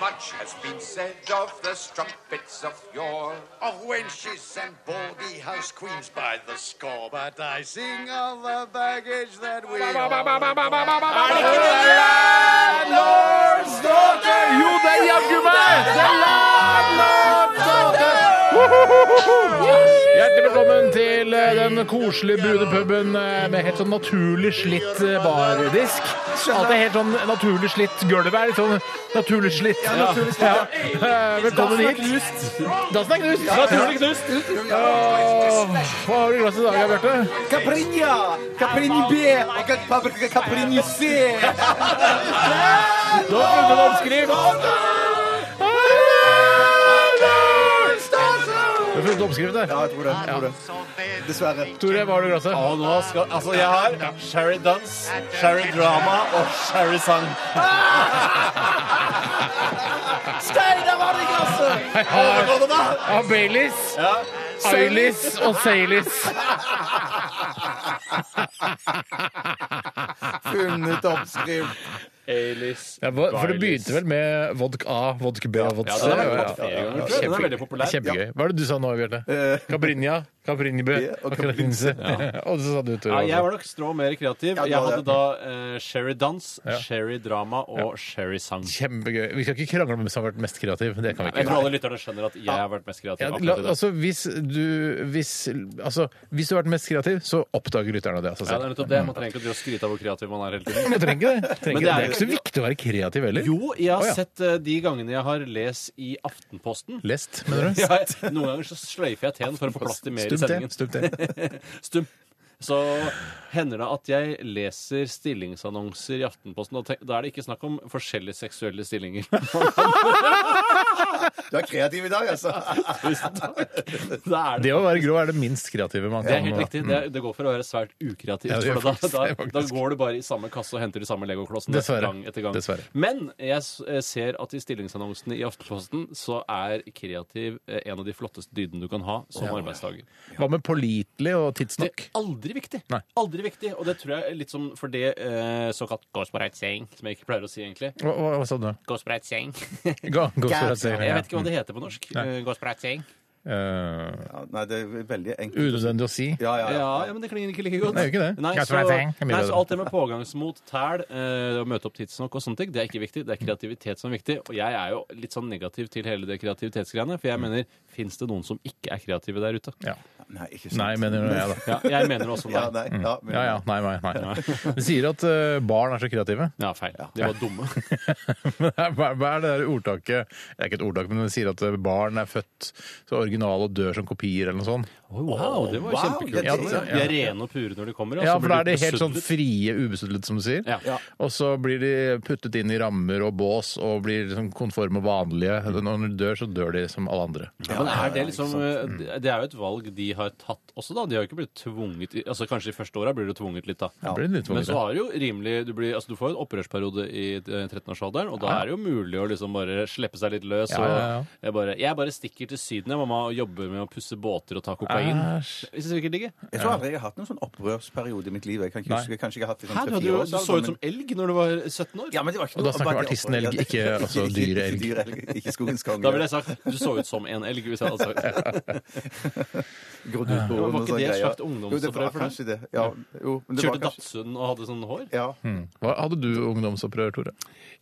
Much has been said of the strumpets of yore, of wenches and baldy house queens by the score. But I sing of the baggage that we Hjertelig velkommen til eh, den koselige budepuben eh, med helt sånn naturlig slitt eh, bardisk. Alt er helt sånn naturlig slitt. Gulvet er litt sånn naturlig slitt. Ja. Eh, Velkommen hit. Dassen er knust. Naturlig knust. Åh, Hva har du i glasset i dag, Bjarte? Каприня! Каприни Б! А как паприка Каприни С! Nå skulle du oppskrift. Du har funnet oppskrift der. Ja, jeg tror det. Jeg tror det. Dessverre. Tore, hva har du i glasset? Og nå skal, altså jeg har Sherry Dance, Sherry Drama og Sherry Sang. Jeg har, jeg har Baileys, Aileys og Sailies. Funnet oppskrift. Ja, hva- for det begynte vel med vodk A, vodk B og vodk C? den har vært ja, tatt flere ganger, tror jeg. Den er veldig Kjempegøy. populær. Kjempegøy. Hva er det du sa nå, Bjarte? Caprinja, Caprinibø og og Caprinse. Og så sa du Tore. Ja, jeg også. var nok strå mer kreativ. Ja, du Jeg var det. hadde da eh, Sherry Dance, Sherry Drama og Sherry Sang. Kjempegøy. Vi skal ikke krangle om hvem som har vært mest kreativ. Det kan vi Jeg ikke. tror alle lytterne skjønner at jeg har vært mest kreativ. Ja, la, akkurat i dag. altså, hvis, du, hvis, altså, hvis du har vært mest kreativ, så oppdager lytterne det. Altså, Ja, det er nettopp det. Man trenger ikke å drive og skryte av hvor kreativ man er hele tiden. Man trenger ikke det. Trenger Men ikke det. det det er ikke er så viktig å være kreativ heller. Jo, jeg har Å, ja. sett eh, de gangene jeg har lest i Aftenposten. Lest, mener du? Ja, jeg- noen ganger så sløyfer jeg teen for å få plass til mer i Stumt det. sendingen. Stumt det. Stum. Så hender det at jeg leser stillingsannonser i Aftenposten, og tenk, da er det ikke snakk om forskjellige seksuelle stillinger. Du er kreativ i dag, altså. Tusen takk. Da er det. Det å være grå er det minst kreative man Det er kan helt riktig. Det, er- det går for å være svært ukreativ. Mm. Ja, det gjør for da, faktisk det, da, faktisk. da går du bare i samme kasse og henter de samme legoklossene Dessverre. gang etter gang. Dessverre. Men jeg s- eh, ser at i stillingsannonsene i Aftenposten så er kreativ eh, en av de flotteste dydene du kan ha som arbeidstaker. Hva med pålitelig og Det tidsnok? er aldri viktig. Nei. Aldri viktig. Og det tror jeg er litt som for det eh, såkalt goes without saying, som jeg ikke pleier å si egentlig. Hva, hva, hva sa du? Goes without saying. Gå, gå for at Jeg vet ikke hva det heter på norsk. Eh, goes without saying. Eh, Ja, nei, det er veldig enkelt. Unødvendig å si. Ja, ja, ja. Ja, ja, men det klinger ikke like godt. Nei, det gjør ikke det. Nei, Goes så, without saying. Det er mye nei, bedre. så alt det med pågangsmot, tæl, eh, å møte opp tidsnok og sånne ting, det er ikke viktig. Det er kreativitet som er viktig. Og jeg er jo litt sånn negativ til hele det kreativitetsgreiene, for jeg mener, fins det noen som ikke er kreative der ute? Ja. Nei, ikke sant. Nei, mener jo jeg, da. Ja, jeg mener også Ja, nei. nei, ja, men, Ja ja, nei, nei. nei. De sier at eh, barn er så kreative. Ja, feil. De var dumme. Men hva hva er det der ordtaket Det er ikke et ordtak, men de sier at eh, barn er født så originale og dør som kopier, eller noe sånt. Wow, det var Wow, kjempekult. det er De det, ja. er rene og pure når de kommer. og Ja, så for blir da er de de helt sånn besudlet. frie, ubesudlet, som du sier. Ja. Ja. Og så blir de puttet inn i rammer og bås og blir liksom konforme og vanlige. Når de dør, så dør de som alle andre. Ja, men er det, liksom, eh, det er jo et valg de har tatt også, da. De har jo ikke blitt tvunget i- altså Kanskje de første åra blir du tvunget litt, da. Det blir litt Men så vanlig. har du jo rimelig Du, blir, altså, du får jo en opprørsperiode i eh, 13-årsalderen, og da er det jo mulig å liksom bare slippe seg litt løs. Ja, ja, ja. Og jeg, bare, jeg bare stikker til Syden, jeg, mamma, og jobber med å pusse båter og ta kokain. Æsj. Det synes jeg ikke digger. Jeg tror aldri jeg har hatt noen sånn opprørsperiode i mitt liv. Jeg kan ikke Nei. huske, kanskje jeg har hatt det Hæ, sånn du, hadde jo- du så ut men- som elg når du var 17 år. ja, men det var ikke Og da noe- snakker bare vi det artisten opprør- elg, Ja, ikke, altså, ikke- dyre elg. Ikke, dyre elg, ikke skogens konge. Da ville jeg sagt du så ut som en elg. hvis jeg hadde sagt det. Grodd ut på var årene og ikke sånn det greier. Jo, det et slags ungdomsopprør var for deg? kanskje det. Ja, jo, men det var Kjørte kanskje Datsun og hadde sånn hår. Ja. Hva hadde du ungdomsopprør, Tore?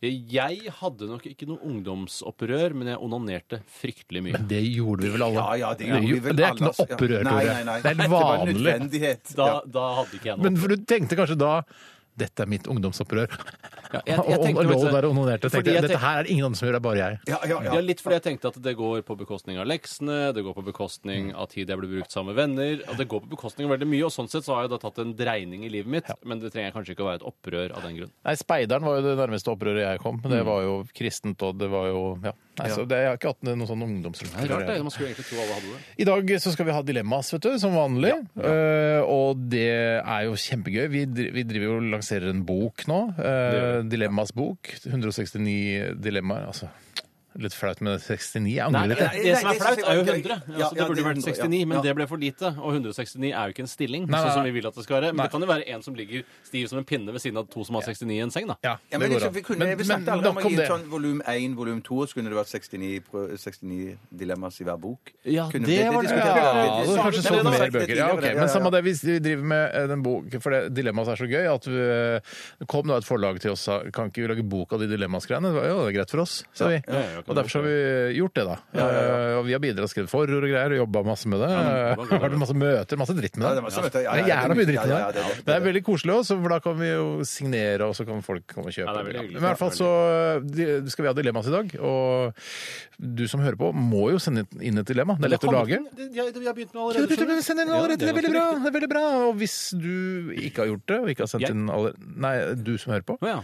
Jeg hadde nok ikke noe ungdomsopprør, men jeg onanerte fryktelig mye. Det gjorde vi vel alle? Ja, ja, det er gjorde jo- vi vel det er ikke alle, noe altså. Ja. opprør, Nei, Tore. nei, nei. Det er Det helt var en vanlig. nødvendighet. Da, Ja. da hadde ikke jeg noe. Men for du tenkte kanskje da dette er mitt ungdomsopprør. jeg- jeg og tenkte og lå faktisk- der og onanerte. og fordi Tenkte, jeg dette tenk- her er det ingen andre som gjør, det er bare jeg. Ja, ja, ja. Ja, litt fordi jeg tenkte at det går på bekostning av leksene, det går på bekostning av tid jeg blir brukt sammen med venner, og det går på bekostning av veldig mye, og sånn sett så har jeg da tatt en dreining i livet mitt, men det trenger kanskje ikke å være et opprør av den grunn. Nei, Speideren var jo det nærmeste opprøret jeg kom. Men det var jo kristent, og det var jo ja. Nei, så det, Jeg har ikke hatt noe sånn Det er rart ungdomsopprør. det, man skulle egentlig tro alle hadde det. I dag så skal vi ha dilemmas, vet du, som vanlig. Eh, og det er jo kjempegøy. Vi, dri- vi driver jo og lanserer en bok nå. eh, dilemmas bok. 169 dilemmaer. Altså Litt flaut med 69. Jeg Nei, angrer litt. det, jeg. det som er flaut, er jo 100. Ja, Altså, ja, det burde det er vært 100, ja. 69, men Ja. det ble for lite. Og 169 er jo ikke en stilling, Nei, nei, sånn som nei. vi vil at det skal være. Men Nei. det kan jo være en som ligger stiv som en pinne ved siden av to som har 69 i en seng, da. Ja, Ja, det men går liksom, an. vi kunne, Men, vi men snakket aldri om nok om det. sånn volum 1, volum 2, så kunne det vært 69, pro- 69 dilemmas i hver bok. Ja, Kunne det var Ja, diskutert. det Ja, hadde så- kanskje det solgt hadde mer vært bøker. Ja, ok, Men samme det, hvis vi driver med eh, den bok, for det dilemmaet er så gøy at vi, eh, det kom da et forlag til oss og sa kan ikke vi lage bok av de dilemmasgreiene? Det var, Jo, det er greit for oss, sa vi. ja, ja, kan Og derfor så har vi gjort det, da. Eh, Og vi har bidratt, skrevet forord og greier, og jobba masse med det. Ja, men- Eh, Vært masse møter, masse dritt med Ja, det det. er masse møter. Ja, Det ja, er jævla mye dritt ja, i ja, det. ja, det er Men det. det er veldig koselig også, for da kan vi jo signere, og så kan folk komme og kjøpe. Ja, det er veldig hyggelig. Men i hvert fall så eh, de- skal vi ha dilemmas i dag, og du som hører på må jo sende inn et dilemma. Det er lett å lage. Vi har begynt med Ja, du- du- du- allerede. Send inn Ja, allerede, det det er er veldig ganske bra! det er veldig bra. Og hvis du ikke har gjort det, og ikke har sendt Jeg? inn allerede Nei, du som hører på. Å, ja.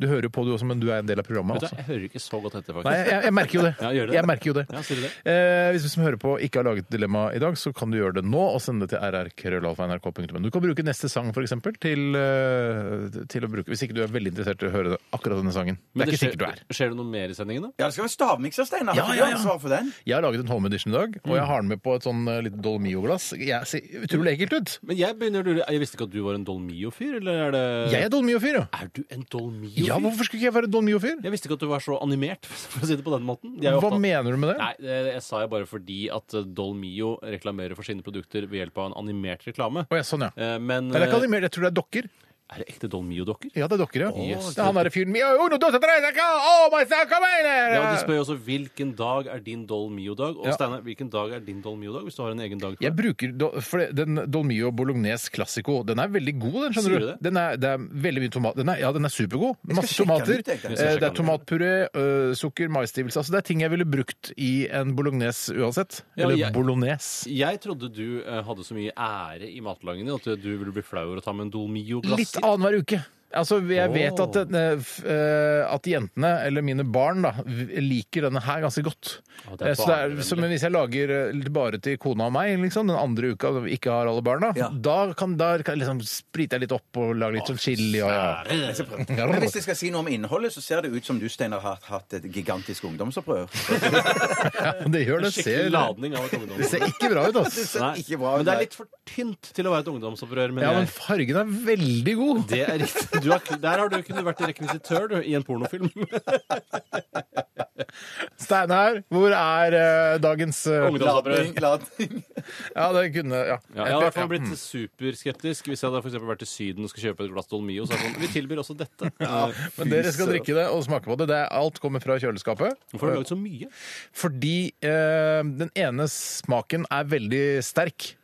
Du hører jo på du også, men du er en del av programmet. Vet du, altså. hva, jeg hører ikke så godt etter, Nei, faktisk. jeg, jeg merker jo det. Ja, gjør det. Jeg merker jo det. Ja, sier du det? Eh, hvis du som hører på ikke har laget dilemma i dag, så kan du gjøre det nå og sende det til rrkrøllalfa.nrk.no. Du kan bruke neste sang for eksempel, til, eh, til å bruke, hvis ikke du er veldig interessert i å høre det, akkurat denne sangen. Det er ikke sikkert du er. Skjer det noe mer i sendingen, da? Ja, det skal være stavmikser, Steinar. Ja, Har ja, ikke ja. du ansvar for den? Jeg har laget en home edition i dag, og Mm. jeg har den med på et sånn eh, litt Dolmio-glass. Jeg ser utrolig ekkelt ut. Men jeg begynner å lure Jeg visste ikke at du var en Dolmio-fyr, eller er det Jeg er Dolmio-fyr, jo. Er du en Dolmio-fyr? Ja, hvorfor skulle ikke jeg være Dolmio-fyr? Jeg visste ikke at du var så animert, for å si det på den måten. Jeg er jo Hva opptatt- mener du med det? Nei, det, jeg sa jeg bare fordi at eh, Dolmio reklamerer for sine produkter ved hjelp av en animert reklame. Å ja, sånn, ja. Eh, Men Nei, det er ikke animert, jeg tror det er dokker. eh, er det ekte Dolmio-dokker? Ja, det er dokker, ja. Yes. Det er han derre fyren min. «Oh, no, dos, tres, acá! Oh, my son, come in here!» Ja, og De spør jo også hvilken dag er din Dolmio-dag. Og Ja. Steinar, hvilken dag er din Dolmio-dag hvis du har en egen dag? for Jeg bruker do- for det- den Dolmio Bolognese Classico. Den er veldig god, den. skjønner du? Sier du det? Den er, det er veldig mye tomat. Den er, ja, den er supergod. Masse sjekke den tomater. ut, jeg, Eh, jeg. det er tomatpuré, øh, sukker, maisstivelse. Altså, det er ting jeg ville brukt i en bolognese uansett. Ja, Eller jeg- bolognese. Jeg trodde du eh, hadde så mye ære i matlagingen din at du ville bli flau over å ta med en Litt Dolmio-glass. annenhver uke. Altså, Jeg vet at, den, eh, f- eh, at jentene, eller mine barn, da, v- liker denne her ganske godt. Ja, det er Eh, Så det er, barnevennlig. som hvis jeg lager eh, litt bare til kona og meg liksom, den andre uka når vi ikke har alle barna, Ja. da kan, da kan jeg liksom sprite jeg litt opp og lage litt sånn chili. Og, ja. Men hvis jeg skal si noe om innholdet, så ser det ut som du, Steinar, har hatt et gigantisk ungdomsopprør. ja, det gjør det. Skikkelig Ser, det ladning av et ungdom. ser ikke bra ut, Det altså. ser Nei, ikke bra ut. men det er nei. litt for tynt til å være et ungdomsopprør. Men Ja, men jeg, fargen er veldig god. det er riktig. Du har, der har du kunnet vært rekvisitør du, i en pornofilm. Steinar, hvor er eh, dagens eh, Ungdomsopprør. Ladning, ladning. Ja, det kunne Ja. Ja, jeg har i hvert fall Ja, blitt superskeptisk hvis jeg hadde for eksempel vært i Syden og skal kjøpe et glass Dolmio. Så er det sånn, vi tilbyr også dette. Eh, Men dere skal drikke det og smake på det. det er, alt kommer fra kjøleskapet. Hvorfor har du laget så mye? Fordi eh, den ene smaken er veldig sterk.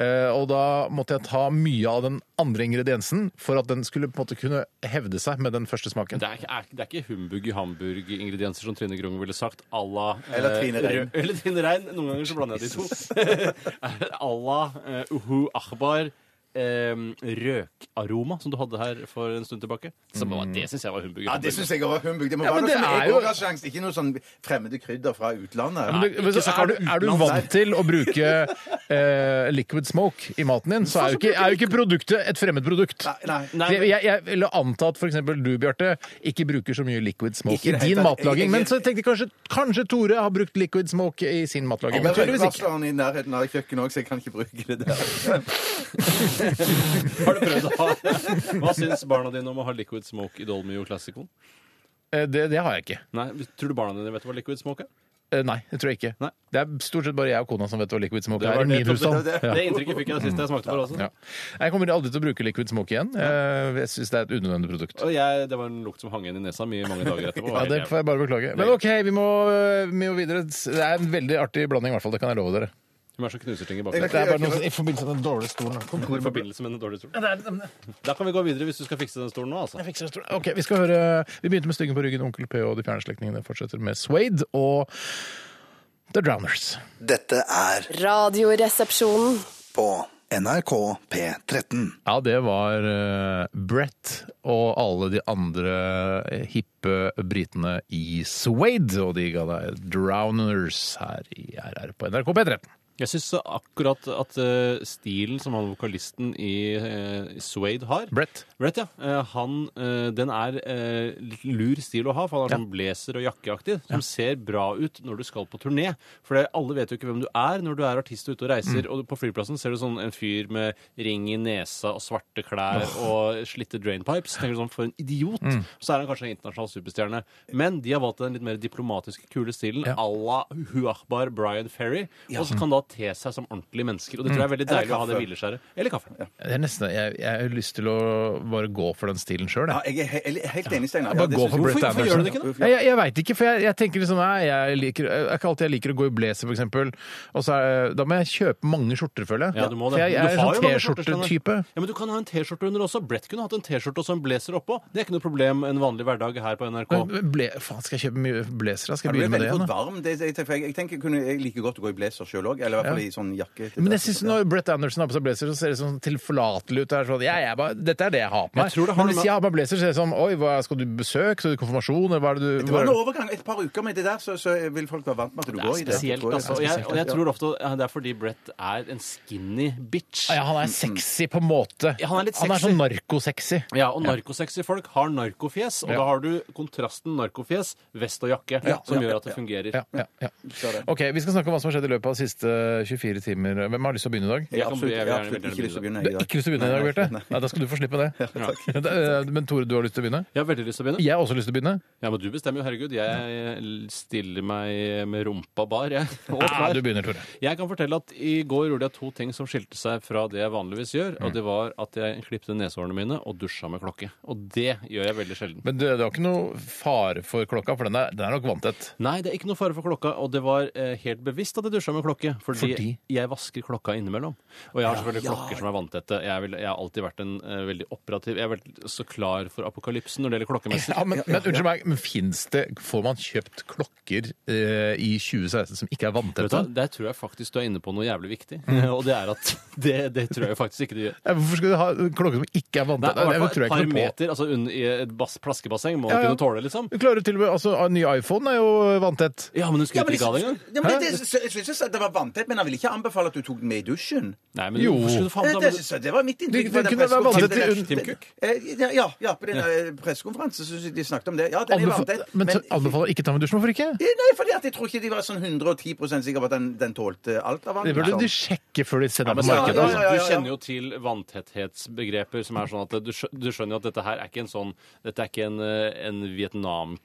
Eh, og da måtte jeg ta mye av den andre ingrediensen for at den skulle på en måte kunne hevde seg med den første smaken. Det er, ikke- er, det er ikke humbug i hamburg-ingredienser som Trine Grung ville sagt à la eh, Eller Trine Rein. rød- Eller Trine Rein. Noen ganger så blander jeg de to. à la eh, uhu akbar. eh, røkaroma, som du hadde her for en stund tilbake. Som var, det syns jeg var humbug. i Mm. Ja, det hamburgeren. syns jeg var humbug. Det må Ja, være men noe det som er er jo- overgangsangst, ikke noe sånn fremmede krydder fra utlandet. Men du, men så er, du, er du vant til å bruke eh, liquid smoke i maten din, så er jo ikke, er jo ikke produktet et fremmed produkt. Nei, nei. Nei, Det- Jeg, jeg ville anta at f.eks. du, Bjarte, ikke bruker så mye liquid smoke Ikke i i det din hele tatt. matlaging. Jeg- Men så tenkte jeg kanskje, kanskje Tore har brukt liquid smoke i sin matlaging. Men Jeg har tydeligvis ikke. Sånn, røykvarsleren i nærheten av kjøkkenet òg, så jeg kan ikke bruke det der. Har du prøvd å ha Hva syns barna dine om å ha liquid smoke i Dolmio Classicoen? Eh, Det, det har jeg ikke. Nei, Tror du barna dine vet hva liquid smoke er? Eh, Nei, det tror jeg ikke. Nei. Det er stort sett bare jeg og kona som vet hva liquid smoke Det er var i min det- husstand. det- Det inntrykket fikk jeg sist jeg smakte på det også. Ja. Jeg kommer aldri til å bruke liquid smoke igjen. Eh, Jeg syns det er et unødvendig produkt. Og jeg, det var en lukt som hang igjen i nesa mi i mange dager etterpå. Ja, Det får jeg bare beklage. Men OK, vi må, vi må videre. Det er en veldig artig blanding, i hvert fall. Det kan jeg love dere. Hun er så knuserting i bakgrunnen. Det er bare noe i forbindelse med den dårlige stolen. I forbindelse med den dårlige stolen. Da kan vi gå videre hvis du skal fikse den stolen nå, altså. Ok, Vi skal høre Vi begynte med Styggen på ryggen, Onkel P og De fjerne slektningene fortsetter med Swade og The Drowners. Dette er Radioresepsjonen. på NRK P13. Ja, det var eh, Brett og alle de andre eh, hippe britene i Swade, og de ga deg Drowners her i RR på NRK P13. Jeg syns akkurat at eh, stilen som han vokalisten i eh, Suede har Brett. ja. Eh, han, eh, den er eh, litt lur stil å ha, for han er sånn blazer og jakkeaktig, som ser bra ut når du skal på turné. For det, alle vet jo ikke hvem du er når du er artist og ute og reiser. Og på flyplassen ser du sånn en fyr med ring i nesa og svarte klær og slitte drainpipes. Tenker du sånn, for en idiot! Så er han kanskje en internasjonal superstjerne. Men de har valgt den litt mer diplomatiske, kule stilen à la Huachbar Brian Ferry. Og så kan da te seg som ordentlige mennesker. Og det tror jeg er veldig deilig å ha det hvileskjæret. Eller kaffe. Det er nesten, jeg, jeg har lyst til å bare gå for den stilen sjøl, jeg. Ja, jeg er he- he- helt enig, Steinar. Ja, bare det gå synes for jeg- Brett Hvorfor- hvorfor Anderson. gjør du det ikke, da? Jeg, jeg, jeg veit ikke, for jeg, jeg tenker liksom Nei, jeg liker Det er ikke alltid jeg liker å gå i blazer, for eksempel. Og så er, da må jeg kjøpe mange skjorter, føler jeg. Ja, du må det. For jeg, Men jeg er du har sånn jo mange skjorter, T-skjorte-type. skjønner du. Ja, men du kan ha en T-skjorte under også. Brett kunne hatt en T-skjorte og så en blazer oppå. Det er ikke noe problem en vanlig hverdag her på NRK. Men øh, Ble, faen, skal jeg kjøpe mye blazere? Skal Ja, jeg Du er begynne med det? veldig igjen, godt da? varm. Det, jeg, tenker- jeg tenker jeg kunne jeg like godt å gå i blazer sjøl òg, eller i hvert fall i sånn jakke. til Men jeg dress. synes når Brett Anderson har på seg blazer, så ser det sånn tilforlatelig ut. Det er sånn, jeg, jeg bare, Dette er det jeg har på meg. tror det har Men noe hvis med- jeg har på meg blazer, så er det sånn Oi, hva, skal du besøke? Skal du konfirmasjon? Eller hva er det du Det hva var en er det? overgang. Et par uker med det der, så, så vil folk være vant med at du går i det. Spesielt, Du går i det. altså. Og jeg, og jeg tror ofte det er fordi Brett er en skinny bitch. Ja, han er sexy på en måte. Mm, Ja, han er litt han er sexy. sånn narkosexy. Ja, og narkosexy folk har narkofjes, og Ja. da har du kontrasten narkofjes, vest og jakke, som gjør at det fungerer. Ja, ja, ja. Ok, Vi skal snakke om hva som har skjedd i løpet av de siste 24 timer. Hvem har lyst til å begynne i dag? Jeg kan- absolutt, jeg vil jeg gjerne- har absolutt vil gjerne ikke lyst til å Det begynne er i dag. Ikke lyst til å begynne i dag, Nei, Bjarte. nei, Nei, da skal du få slippe det. Det er- Men Tore, du har lyst til å begynne? Jeg har veldig lyst til å begynne. Jeg har også lyst til å begynne. Ja, men Du bestemmer jo, herregud. Jeg stiller meg med rumpa bar, jeg. Og Nei, klar. du begynner, Tore. Jeg kan fortelle at I går gjorde jeg to ting som skilte seg fra det jeg vanligvis gjør. Mm. og Det var at jeg klipte neshårene mine og dusja med klokke. Og det gjør jeg veldig sjelden. Men det, det var ikke noe fare for klokka, for den er, den er nok vanntett. Nei, det er ikke noe fare for klokka, og det var eh, helt bevisst at jeg dusja med klokke. Fordi, Fordi? jeg vasker klokka innimellom. Og jeg har selvfølgelig klokker som er vanntette. Jeg, er vel- jeg har alltid vært en eh, veldig operativ Jeg har vært så klar for apokalypsen når det gjelder klokkemessig. Ja, men, men unnskyld meg, men fins det Får man kjøpt klokker eh, i 2016 som ikke er Vet du, hva? vanntette? der tror jeg faktisk du er inne på noe jævlig viktig. Mm. Og det er at det, det tror jeg faktisk ikke du gjør. Ja, Hvorfor skal du ha klokker som ikke er Nei, vanntette? i hvert Det fall tror et jeg par ikke noe på. meter altså, unn- i et bass, plaskebasseng må Ja, man ja. kunne tåle, liksom. Du klarer til og med, altså, En ny iPhone er jo vanntett. Ja, men hun skulle ikke ha det engang. liksom- Ja, men det, så- jeg synes det var vanntett, men jeg vil ikke anbefale at du tok den med i dusjen. Nei, men Jo. hvorfor skulle du faen Det, ta det, med synes jeg- det var mitt inntrykk. Det- fra det den kunne være vanntett pressekonferansen. til- Tim Cook? Eh, Ja, ja, ja, på den eh, pressekonferansen synes jeg de snakket om det. Ja, den er Anbefaler, vanntett. men så anbefaler ikke ta med dusj, hvorfor ikke? Eh, Nei, fordi at jeg tror ikke de var sånn 110 sikre på at den, den tålte alt av vann. Det burde liksom. de sjekke før de sender den på men så er markedet. altså. det- altså? Ja, ja, ja, ja, ja. Du kjenner jo til vanntetthetsbegreper som er sånn at du, skjø- du skjønner jo at dette her er ikke en sånn Dette er ikke en, eh, en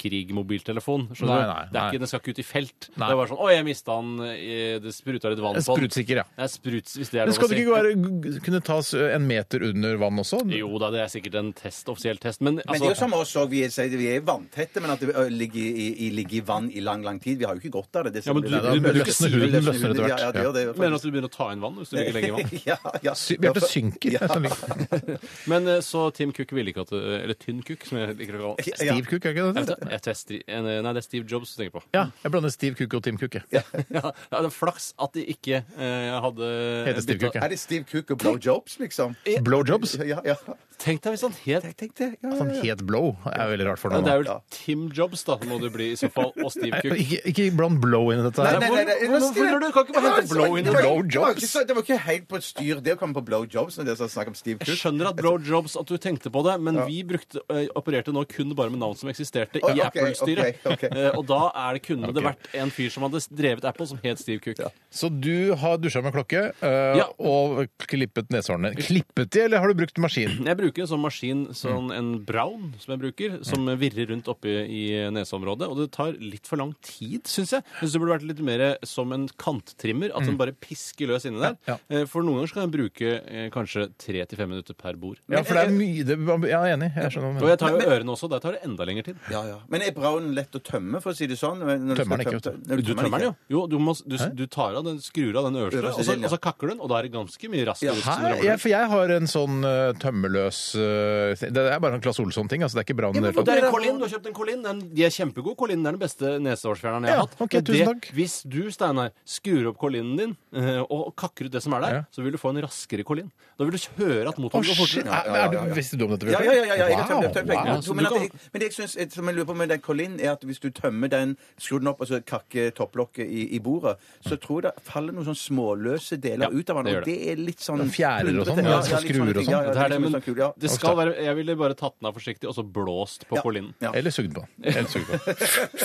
Vietnamkrig-mobiltelefon. Skjønner Nei, du? nei, det er nei. ikke, den skal ikke ut i felt. Nei. Det er bare sånn Å, jeg mista den. eh, Det spruta litt vann En på den. Sprutsikker, ja. Det er spruts, hvis det er Men lov skal å det si. ikke være, kunne tas en meter under vann også? Jo da, det er sikkert en test, offisiell test, men Men det er jo altså som oss òg. Vi, er- sier det, vi er vanntette, men at det ø, ligger i, i, ligger i vann i lang, lang tid. Vi har jo ikke godt av det. det er Ja, men sånn- du- det er- du- du- det er- løsner det er- huden, det er- løsner etter hvert. Ja, ja, det gjør det. Mener du at du begynner å ta inn vann hvis du ligger lenge i vann? ja, ja. Sy- Bjarte synker. Ja. Sånn litt. Men eh, så Tim Cook ville ikke at eh, Eller Tynn Cook, som jeg liker å kalle han. Ja. Steve Cook, er ikke det? Jeg vet- jeg tror jeg stri- eh, Nei, det er Steve Jobs du tenker på. Ja, jeg blander Steve Cook og Tim Cook. jeg. Ja, ja, det er Flaks at de ikke eh, hadde Heter Steve byttet- Cook, ja. Er det Steve Cook og Blow Jobs, liksom? Blowjobs. Ja, ja. Tenk deg hvis han het Jeg tenkte At ja, ja, han ja. het Blow, er jo veldig rart for noen. ja, Det er da. vel Tim Jobs, da, må du bli i så fall. Og Steve Cook. Ikke, ikke bland Blow inn i dette Nei, her. nei, nei, nei, Hvorfor- hvorfor gjør du? Kan ikke bare hente Det var- blow in det og var- blow det var ikke jobs? så- Det var ikke helt på et styr, det å komme på blow jobs når det er snakk om Steve Cook. Jeg skjønner at Bro Jobs at du tenkte på det, men vi brukte, eh, opererte nå kun bare med navn som eksisterte Å, i ok, Apple-styret. ok, ok. Eh, og da er det, kunne det vært en fyr som hadde drevet Apple, som het Steve Cook. Så du har dusja med klokke øh, Ja. og klippet neshårene. Klippet de, eller har du brukt maskin? Jeg bruker en sånn maskin, sånn en brown, som jeg bruker, som virrer rundt oppe i neseområdet. Og det tar litt for lang tid, syns jeg. Jeg syns det burde vært litt mer som en kanttrimmer. At den bare pisker løs inni der. Ja, Eh, For noen ganger så kan jeg bruke eh, kanskje tre til fem minutter per bord. Ja, for det er mye det, Ja, jeg er enig. Jeg skjønner hva du Og mener. jeg tar jo ørene også. Der tar det enda lengre tid. Ja, ja. Men er brownen lett å tømme, for å si det sånn? Når Tømmer den ikke, vet du. Du tømmer den jo. Jo, du, må, du, du tar av den, skrur av den øverste, Øverste og så, delen, ja. og så kakker du den. Og da er det ganske mye rask Ja, luft Hæ? som ramler Jeg, ut. for jeg har en sånn øh, tømmeløs øh, Det er bare en Claes Olsson-ting. altså Det er ikke bra. men Ja, hvor Og det er en Colin, du har kjøpt en Colin. Den, de er kjempegode. Colin er den beste nesehårsfjerneren jeg Ja, har hatt. ok, Og tusen det- takk. Hvis du, Steinar, skrur opp Colinen din eh, og kakker ut det som er der, Ja. så vil du få en raskere Colin. Da vil du høre at motoren går Shit, fortere. er, er du, visste du om dette? Ja, ja, ja, ja, ja, jeg har Wow, tømt, jeg har tømt begge wow. to. så Men, du at kan- jeg, men det jeg synes, et- som jeg lurer på med den Colin, er at hvis du tømmer den, skrur den opp og så kakker topplokket i, i bordet, så tror jeg faller noen sånn småløse deler Ja, ut av det den, gjør og det er litt sånn Ja, fjærer og sånn, plundrete. ja, sånn litt sånne skruer og ting. Ja, sånn. ja, Det, er det, litt men sånn kul, ja. det skal være, jeg ville bare tatt den av forsiktig og så blåst på Ja. Pauline. Ja. Eller sugd på. Eller sugd på.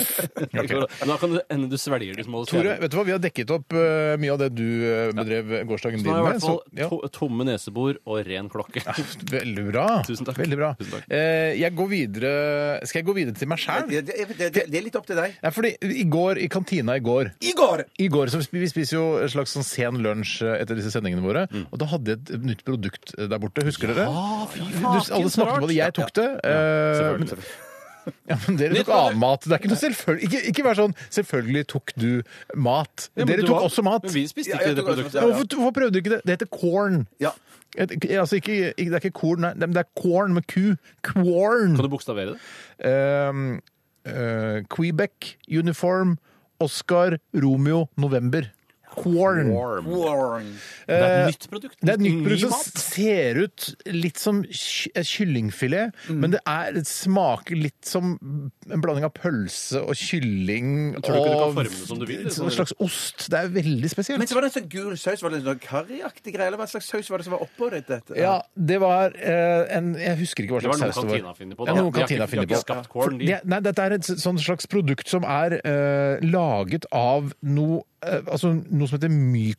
Men Da kan det hende du svelger de små Tore, vet du hva? vi har dekket opp eh, mye av det du eh, bedrev gårsdagen Så din nå har med. jeg i hvert fall så- ja. Eh, to, tomme nesebor og ren klokke. Veldig bra. Tusen takk. Veldig bra. Tusen takk. Eh, jeg går videre Skal jeg gå videre til meg Nei, sjæl? det, det, det, det, det er litt opp til deg. Nei, fordi i går, i kantina i går I går! I går, så Vi spiser jo en slags sånn sen lunsj eh, etter disse sendingene våre. Mm. Og da hadde jeg et nytt produkt eh, der borte. Husker dere? Du, alle smakte på det. Jeg tok det. eh, men- ja, men dere tok annen mat. Det er ikke noe selvfølgelig ikke, ikke vær sånn 'selvfølgelig tok du mat'. Ja, men dere du tok har- også mat. Men vi spiste Ja, ikke jeg det tok også- produktet. Ja, Hvorfor, hvorfor prøvde du ikke det? Det heter corn. Ja. Et, altså ikke, ikke, det er ikke korn, nei, men det er corn med Q. Corn! Kan du bokstavere det? Ehm, eh, Quebec, Uniform, Oscar, Romeo, November. Corn. Warren. Det er et nytt produkt. Eh, Det er et nytt Ny produkt som mat. ser ut litt som ky- eh, kyllingfilet, Mm. men det, er, det smaker litt som en blanding av pølse og kylling tror du ikke og du kan forme det som du et- vil, eller En sånn? slags ost. Det er veldig spesielt. Men så var det en sånn gul saus. Var det en sånn curryaktig greie, eller hva slags saus var det som var oppå dette? Ja, det var eh, en Jeg husker ikke hva Det var slags noe saus det var. kantina finner på. Ja, da. noe De har kantina ikke- de har finner på. ikke skapt corn. de. Det, nei, dette er et s- sånn slags produkt som er eh, laget av noe, eh, altså, noe som heter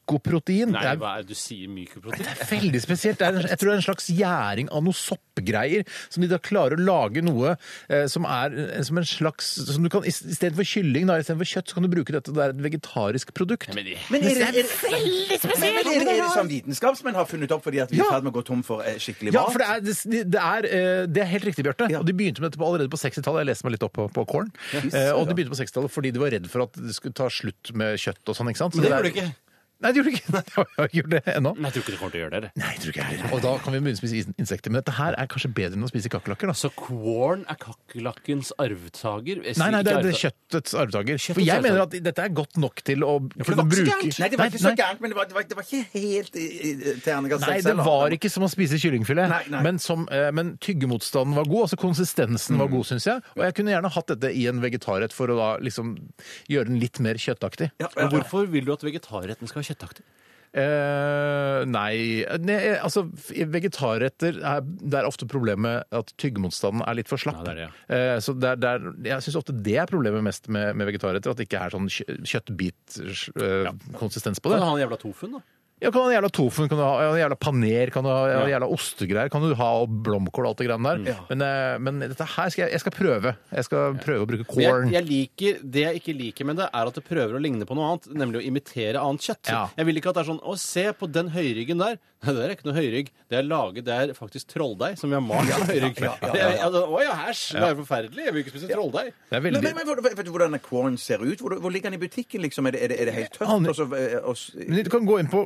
mykoprotein. Nei, det er hva er det du sier? Mykoprotein? det er veldig spesielt. Det er, jeg tror det er en slags gjæring av noe soppgreier, som de da klarer å lage noe eh, som er eh, som en slags som du kan, Istedenfor kylling, da, istedenfor kjøtt, så kan du bruke dette. Det er et vegetarisk produkt. Men i- Men er det, er det, men er det, er det sånn vitenskapsmenn har funnet opp fordi at vi er i Ja. ferd med å gå tom for eh, skikkelig Ja, mat? for det er, det, det er, eh, det er helt riktig, Bjarte. Ja. Og de begynte med dette på, allerede på 60-tallet. Jeg leste meg litt opp på, på Korn. Eh, og de begynte på 60-tallet fordi de var redd for at det skulle ta slutt med kjøtt og sånn. ikke sant? Så Men det der- gjorde du ikke. Nei, det gjorde du ikke. Nei, jeg har ikke gjort det ennå. Nei, jeg tror ikke det kommer til å gjøre det. eller? Nei, jeg tror ikke jeg heller. Og da kan vi begynne å spise is- insekter. Men dette her er kanskje bedre enn å spise kakerlakker. da. Så corn er kakerlakkens arvtaker? Nei, nei, det er det Ikke arvtaker. kjøttets arvtaker. For Kjøttets jeg arvtaker. mener at dette er godt nok til å Det var kunne ikke så bruke gærent. Nei, det var ikke så gærent, men det var, det var, det var ikke helt i- i- terningkast Nei, seks det heller. var ikke som å spise kyllingfilet, Nei, nei. Men, som, eh, men tyggemotstanden var god. altså Konsistensen Mm. var god, syns jeg. Og jeg kunne gjerne hatt dette i en vegetarrett for å da liksom gjøre den litt mer kjøttaktig. Ja, ja, Men ja. hvorfor vil du at vegetarretten skal være kjøttaktig? Eh, nei, nei Altså, i vegetarretter er, det er ofte problemet at tyggemotstanden er litt for slapp. Ja, det er det, Eh, så det er, det er, jeg syns ofte det er problemet mest med, med vegetarretter. At det ikke er sånn kjø- kjøttbitkonsistens på det. Kan du ha den jævla tofuen, da? Ja, kan du ha en jævla tofu, kan du ha en jævla paner, kan du ha en jævla ostegreier, kan du ha og blomkål og alt det greiene der. Mm. Men, eh, men dette her skal jeg, jeg skal prøve. Jeg skal prøve å bruke Men corn. Jeg, jeg liker, Det jeg ikke liker med det, er at det prøver å ligne på noe annet, nemlig å imitere annet kjøtt. Ja. Jeg vil ikke at det er sånn Å, se på den høyryggen der. Nei, det er ikke noe høyrygg. Det er laget, det er faktisk trolldeig som vi har malt som høyrygg. Det er- altså, Å ja, æsj! Det er forferdelig. Jeg vil ikke spise trolldeig. Det er Men, veldig... men, men, hvor- vet du hvordan corn ser ut? Hvor, hvor ligger den i butikken, liksom? Er det, er det, er det helt tørt? Aner- Og så, eh, og, s- Men du kan gå inn på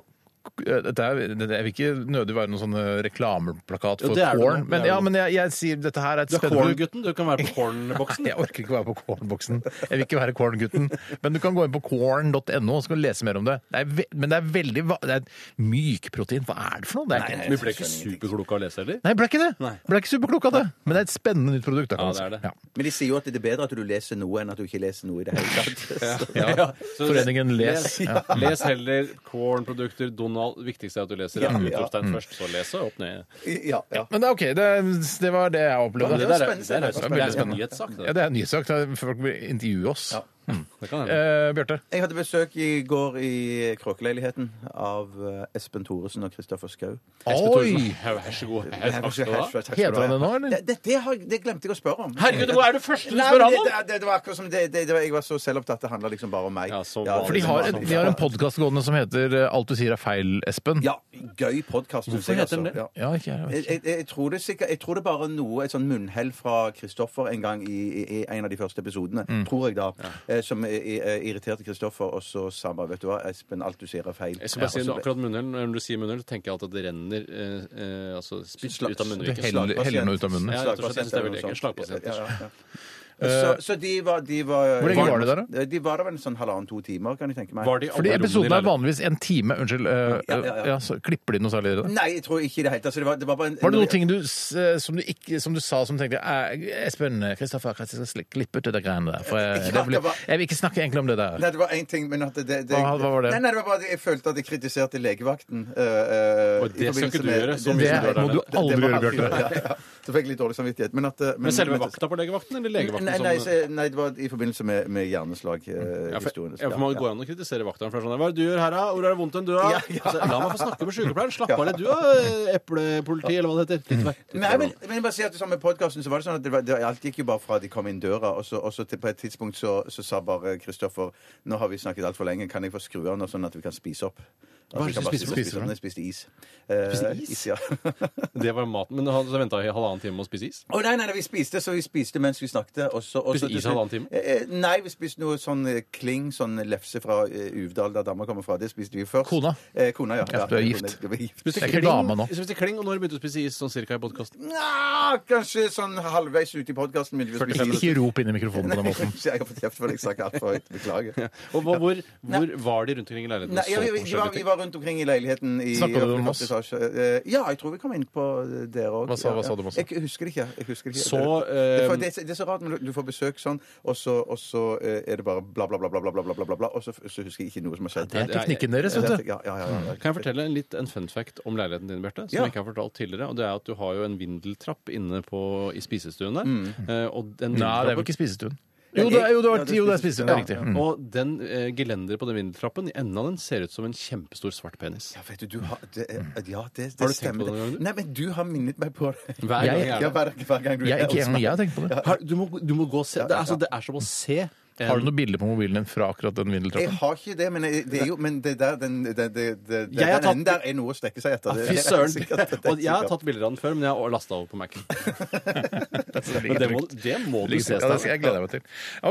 eh, dette er, det jeg vil ikke nødig være noen sånn eh, reklameplakat Jo, for det er det corn, nå. Det er men, det ja, nå. men jeg, jeg sier dette her er et Du er spennende corngutten. Du kan være på cornboksen. Jeg orker ikke å være på cornboksen. Jeg vil ikke være corngutten. Men du kan gå inn på corn.no og så kan du lese mer om det. det er ve men det er veldig va- det er mykprotein. Hva er det for noe? Det er ikke, Men Vi ble ikke superkloke av å lese heller. Nei, ble ikke det. Nei. Ble ikke superklok av det. Men det er et spennende nytt produkt. Da, kan Ja, man si. det er det. men de sier jo at det er bedre at du leser noe enn at du ikke leser noe i det hele tatt. Så- Ja. Ja, så- Foreningen Les. Ja. Les heller cornprodukter. Donald. Viktigste er at du leser ja, utropstegn først, så les og opp ned. Ja, ja. Men det er OK. Det, det var det jeg opplevde. det var der er, det der spennende. er, Det var det er en spennende. nyhetssak. Ja, Det, det er en nysak. da Folk vil intervjue oss. Ja. det kan hende. Eh, Bjarte. Jeg hadde besøk i går i Kråkeleiligheten av eh, Espen Thoresen og Kristoffer Schou. Oi! Vær så god. Takk skal du ha. Takk skal du Heter han ha. det nå, eller? Det, det, det, har, det glemte jeg å spørre om. Herregud, hvor er du første du Nei, spør men han om? det, det, det, det var akkurat som det, det, det var, Jeg var så selvopptatt, det handla liksom bare om meg. Ja, så For de har, sånn et, de har en podkast gående som heter eh, 'Alt du sier er feil', Espen. Ja, gøy podkast. Hvorfor heter den det? altså. Ja. Ja, ikke jeg, jeg vet Jeg, ikke. jeg, jeg, tror det sikkert, jeg tror det bare er noe, et sånn munnhell fra Kristoffer en gang i, i, i en av de første episodene, Mm. tror jeg da, eh, som eh, eh, irriterte Kristoffer, og så sa han bare Vet du hva, Espen, alt du sier er feil. Jeg skal bare si noe Ja, og så ble- akkurat munnhell. Når du sier munnhell, så tenker jeg alltid at det renner eh, eh, altså spytt ut Slags- av Det munnviken. heller- heller noe ut av munnen. Eh, Ja, rett og slett, jeg synes det er Slagpasient veldig ekkelt. eller noe Slagpasient. sånt. sånn. Ja, ja, ja. Så, så de var, de var Hvor lenge var det der, da? De var der vel en sånn halvannen-to timer, kan jeg tenke meg. Var de i alle Fordi rommene episoden i er vanligvis en time. Unnskyld. eh, Ja, ja, Mm. ja. ja, så klipper de noe særlig i det? Nei, jeg tror ikke i det hele tatt. Altså, det var, det var, bare en, Var det noen ting du, s- eh, som, du ikke, som du sa som tenkte «Eh, Espen, Kristoffer, jeg skal sli- klippe ut det der greiene der. For jeg, Ja, det blir, det var- jeg vil ikke snakke egentlig om det der. Nei, det var én ting, men at det, det, det Hva- hva var det? Nei, nei, det var bare at jeg følte at jeg kritiserte legevakten. øh, øh, Og det i skal ikke forbindelse du med- gjøre, så den- Det mye som du har må der du nede. aldri gjøre, Ja, Bjarte. ja. Så fikk jeg litt dårlig samvittighet. Men at øh, men- Men selve men- vakta på legevakten, eller legevakten Nei, som nei, så- nei, det var i forbindelse med, med eh, hjerneslaghistorien. ja, for, ja, for Man går an å kritisere vakteren. For det er sånn, Hva er det du gjør her, da? Hvor er det vondt enn du har? Ja, ja. Altså, la meg få snakke med sykepleieren. Slapp av litt, du da. Eplepoliti, eller hva det heter. Mm. Titt vekk. Titt Nei, vekk. men, men bare si at sammen med podcasten så var det sånn at det var, det, alt gikk jo bare fra de kom inn døra, og så, og så til, på et tidspunkt så, så sa bare Kristoffer nå har vi snakket altfor lenge, kan jeg få skru av nå sånn at vi kan spise opp? Hva er det Altså, du vi spiser opp? kan bare spise opp? Jeg spiste is. Eh, Spiste is? ja. Det var maten. Men han venta i halvannen time med å spise is? Å nei, nei, nei, vi spiste, så vi spiste mens vi snakket. Og så, og Spiste så til is slutt- halvannen time? Eh, eh, nei, vi spiste noe sånn eh, kling, sånn lefse fra eh, Uvdal, der dama kommer fra. Det spiste vi først. Kona? Eh, kona, ja. Ja, du er gift. kona, jeg ble gift. Jeg Spiste er ikke kling- dame nå. Spiste kling, og når begynte du å spise is sånn cirka i podkasten? Nja, kanskje sånn halvveis ute i podkasten begynte vi å spise is. Ikke rop inn i mikrofonen på den måten. Så jeg har fått kjeft for det. Jeg snakker altfor høyt. Beklager. Og hvor, hvor, hvor var de rundt omkring i leiligheten? Nei, og ja, så vi, på vi, vi, var, forskjellige vi ting? var rundt omkring i leiligheten i Snakket du om Moss? Moss? Ja, jeg tror vi kom inn på dere òg. Hva sa- hva sa du om Moss? Jeg husker det ikke. Jeg husker det ikke. Så, det, det, er for- eh, det, er så- det er så rart når du- du får besøk sånn, og så, og så eh, er det bare bla, bla, bla, bla, bla, bla, bla, bla, bla, bla og så, så husker jeg ikke noe som har skjedd. Det er teknikken deres, vet du. Ja, ja, ja, ja. Kan jeg fortelle en litt en fun fact om leiligheten din, Bjarte? Som Ja. jeg ikke har fortalt tidligere. Og det er at du har jo en vindeltrapp inne på, i spisestuen der. Mm. eh, Nei, Og den det er vindeltrappen- jo ikke spisestuen. Jo, det er, jo, det Ja, var, det er jo, det er spisestuen. Det er spisestuen, riktig. Mm. Og den eh, gelenderet på den vindeltrappen, i enden av den, ser ut som en kjempestor svart penis. Ja, vet du, du har det, er- ja, det, Har det du tenkt stemmer. på det noen det. gang? Nei, men du har minnet meg på det. Hver gang jeg er Ja, der. hver, hver gang du Jeg, ikke engang jeg har tenkt på det. Har- Du, må, du må gå og se. Det er, altså, det er som å se en- Har du noe bilde på mobilen din fra akkurat den Jeg vindeltrappen? har ikke det, men jeg- det er jo Men det der, den, det, det, det, den Jeg har tatt- enden der er noe å strekke seg etter. Ah, Det Fy er søren! sikkert- det er Og jeg har sikkert. tatt bilder av den før, men jeg har lasta over på Mac-en. Men det må, det må du Ligger trygt. se. Ja, det skal Steinar. jeg gleder jeg meg til.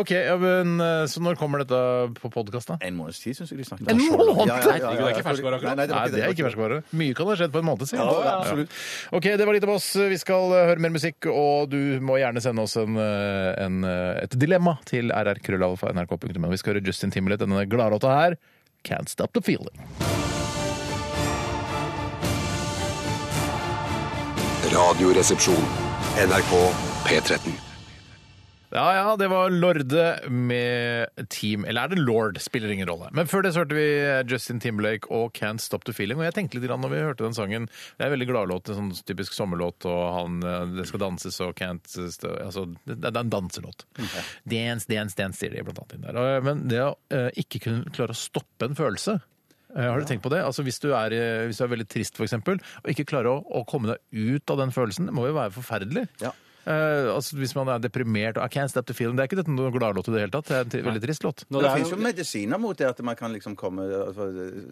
Ok, ja, men, eh, Så når kommer dette på podkast, da? En måneds tid syns jeg de snakket En om. Så langt. måned? Ja, ja, ja, ja, Herregud, det er ikke ferskvare akkurat. Nei, nei, det, var Nei, det er det ikke var ferskvare. Mye kan ha skjedd på en måned siden. Ja, ja, absolutt. Ok, det var litt av oss. Vi skal eh, høre mer musikk, og du må gjerne sende oss en, eh, en, eh, et dilemma til rrkrøllalfa.nrk.no. Vi skal høre Justin Timberlake, denne gladlåta her. Can't stop the feeling. Radioresepsjon. NRK P13. Ja ja, det var Lorde med Team Eller er det Lord? Spiller ingen rolle. Men før det så hørte vi Justin Timberlake og Can't Stop The Feeling. Og jeg tenkte litt grann når vi hørte den sangen Det er en veldig gladlåt, en sånn typisk sommerlåt, og han eh, Det skal danses og Can't stå, Altså, det det er en danselåt. Dance, dance, dance, sier de blant annet inn der. Og, eh, Men det å eh, ikke kunne klare å stoppe en følelse eh, har du tenkt på det? Altså Hvis du er, eh, hvis du er veldig trist, f.eks., og ikke klarer å, å komme deg ut av den følelsen, det må jo være forferdelig. Ja. Eh, altså Hvis man er deprimert og I can't stop the feeling, det er ikke dette noen gladlåt i det hele tatt. Det er en t- veldig trist låt. Nå, det det er finnes jo jo- medisiner mot det, at man kan liksom komme altså,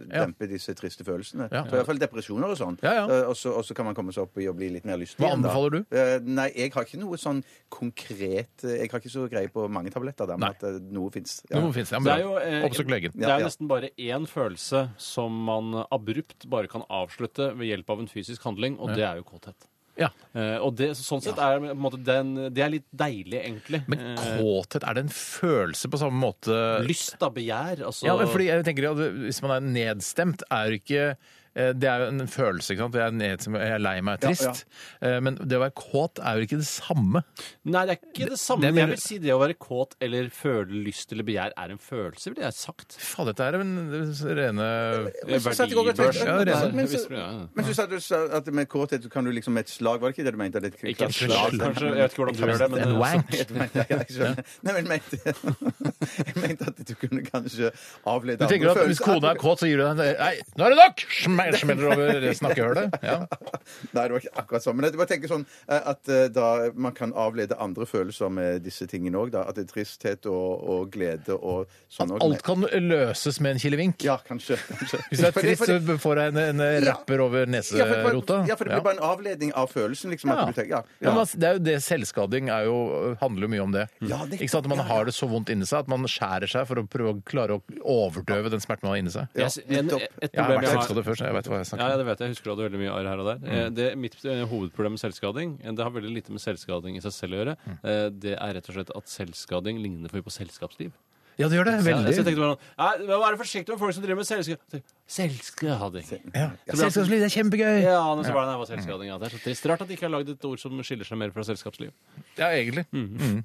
dempe disse triste følelsene. Ja. For I hvert fall depresjoner og sånn. Ja, ja. Eh, Og, så, og så kan man komme seg opp i å bli litt mer lystig. Hva igjen, da. anbefaler du? Eh, Nei, jeg har ikke noe sånn konkret eh, Jeg har ikke så greie på mange tabletter der, Nei. men at eh, noe fins. Noe finnes det. Ja, Det men er jo, bra. eh, Oppsøk legen. Det er Ja, ja. jo nesten bare én følelse som man abrupt bare kan avslutte ved hjelp av en fysisk handling, og det er jo kåthet. Ja. Eh, og det, sånn sett er på en måte, den, det er litt deilig, egentlig. Men Eh, kåthet, er det en følelse på samme måte lyst, da. Begjær. Altså, Ja, men fordi jeg tenker at Hvis man er nedstemt, er det ikke eh, det er jo en følelse. ikke sant? Jeg er, nedstemt, jeg er lei meg, jeg er Ja, trist. Eh, Men det å være kåt er jo ikke det samme. Nei, det er ikke det samme. det er men mer- jeg vil si det å være kåt eller føle lyst eller begjær er en følelse, ville jeg sagt. Faen, dette er en rene Men så satt jeg også og Verdibørs. tenkte- Ja, sånn. det er- men så- Visste du, ja, ja. Men så sa du sa at med kåthet kan du liksom med et slag Var det ikke det du mente? Det er Ikke et slag, kanskje. Jeg vet ikke hvordan du gjør det. Men, En wank. Jeg mente, ja, jeg skjønner. Nei, men jeg mente, jeg mente at du kunne kanskje avlede Du tenker at andre hvis følelser. kona er kåt, så gir du henne Nei, nå er det nok! Smell- Smeller over snakkehølet. Ja. Nei, det var ikke akkurat sånn. Men jeg bare tenker sånn eh, at eh, da man kan avlede andre følelser med disse tingene òg, da. At det er tristhet og, og glede og sånn også. Alt kan løses med en kilevink. Ja, kanskje. kanskje. Hvis du er Fordi- trist, fordi- så får jeg en, en rapper over Ja, for det var- neserota. Ja, for det blir bare en avledning av følelsen, liksom. At Ja. du tenker, ja, Ja, men altså, det er jo det selvskading er jo, øh, handler jo mye om det. Ja, det- ikke sant? Man har det så vondt inni seg at man skjærer seg for å prøve å klare å overdøve den smerten man har inni seg. Ja, jeg, en, nettopp. et Jeg har problem vært jeg har, selvskadet før, så jeg jeg vet hva Mm. jeg Ja, snakker ja, om. det vet jeg. Jeg husker du hadde veldig mye arr her og der. Eh, Det, mitt eh, hovedproblem med selvskading eh, Det har veldig lite med selvskading i seg selv å gjøre. Mm. Eh, Det er rett og slett at selvskading ligner for mye på selskapsliv. Ja, det gjør det. Ja, så jeg Veldig. tenkte bare sånn, Nei, Vær forsiktig med folk som driver med selvskading. Selvskading. Ja. Selskapsliv, det er kjempegøy! Ja, men så var det, det var selvskading. Ja. Det er så trist. Rart at de ikke har lagd et ord som skiller seg mer fra selskapsliv. Ja, egentlig. Mhm. Mm.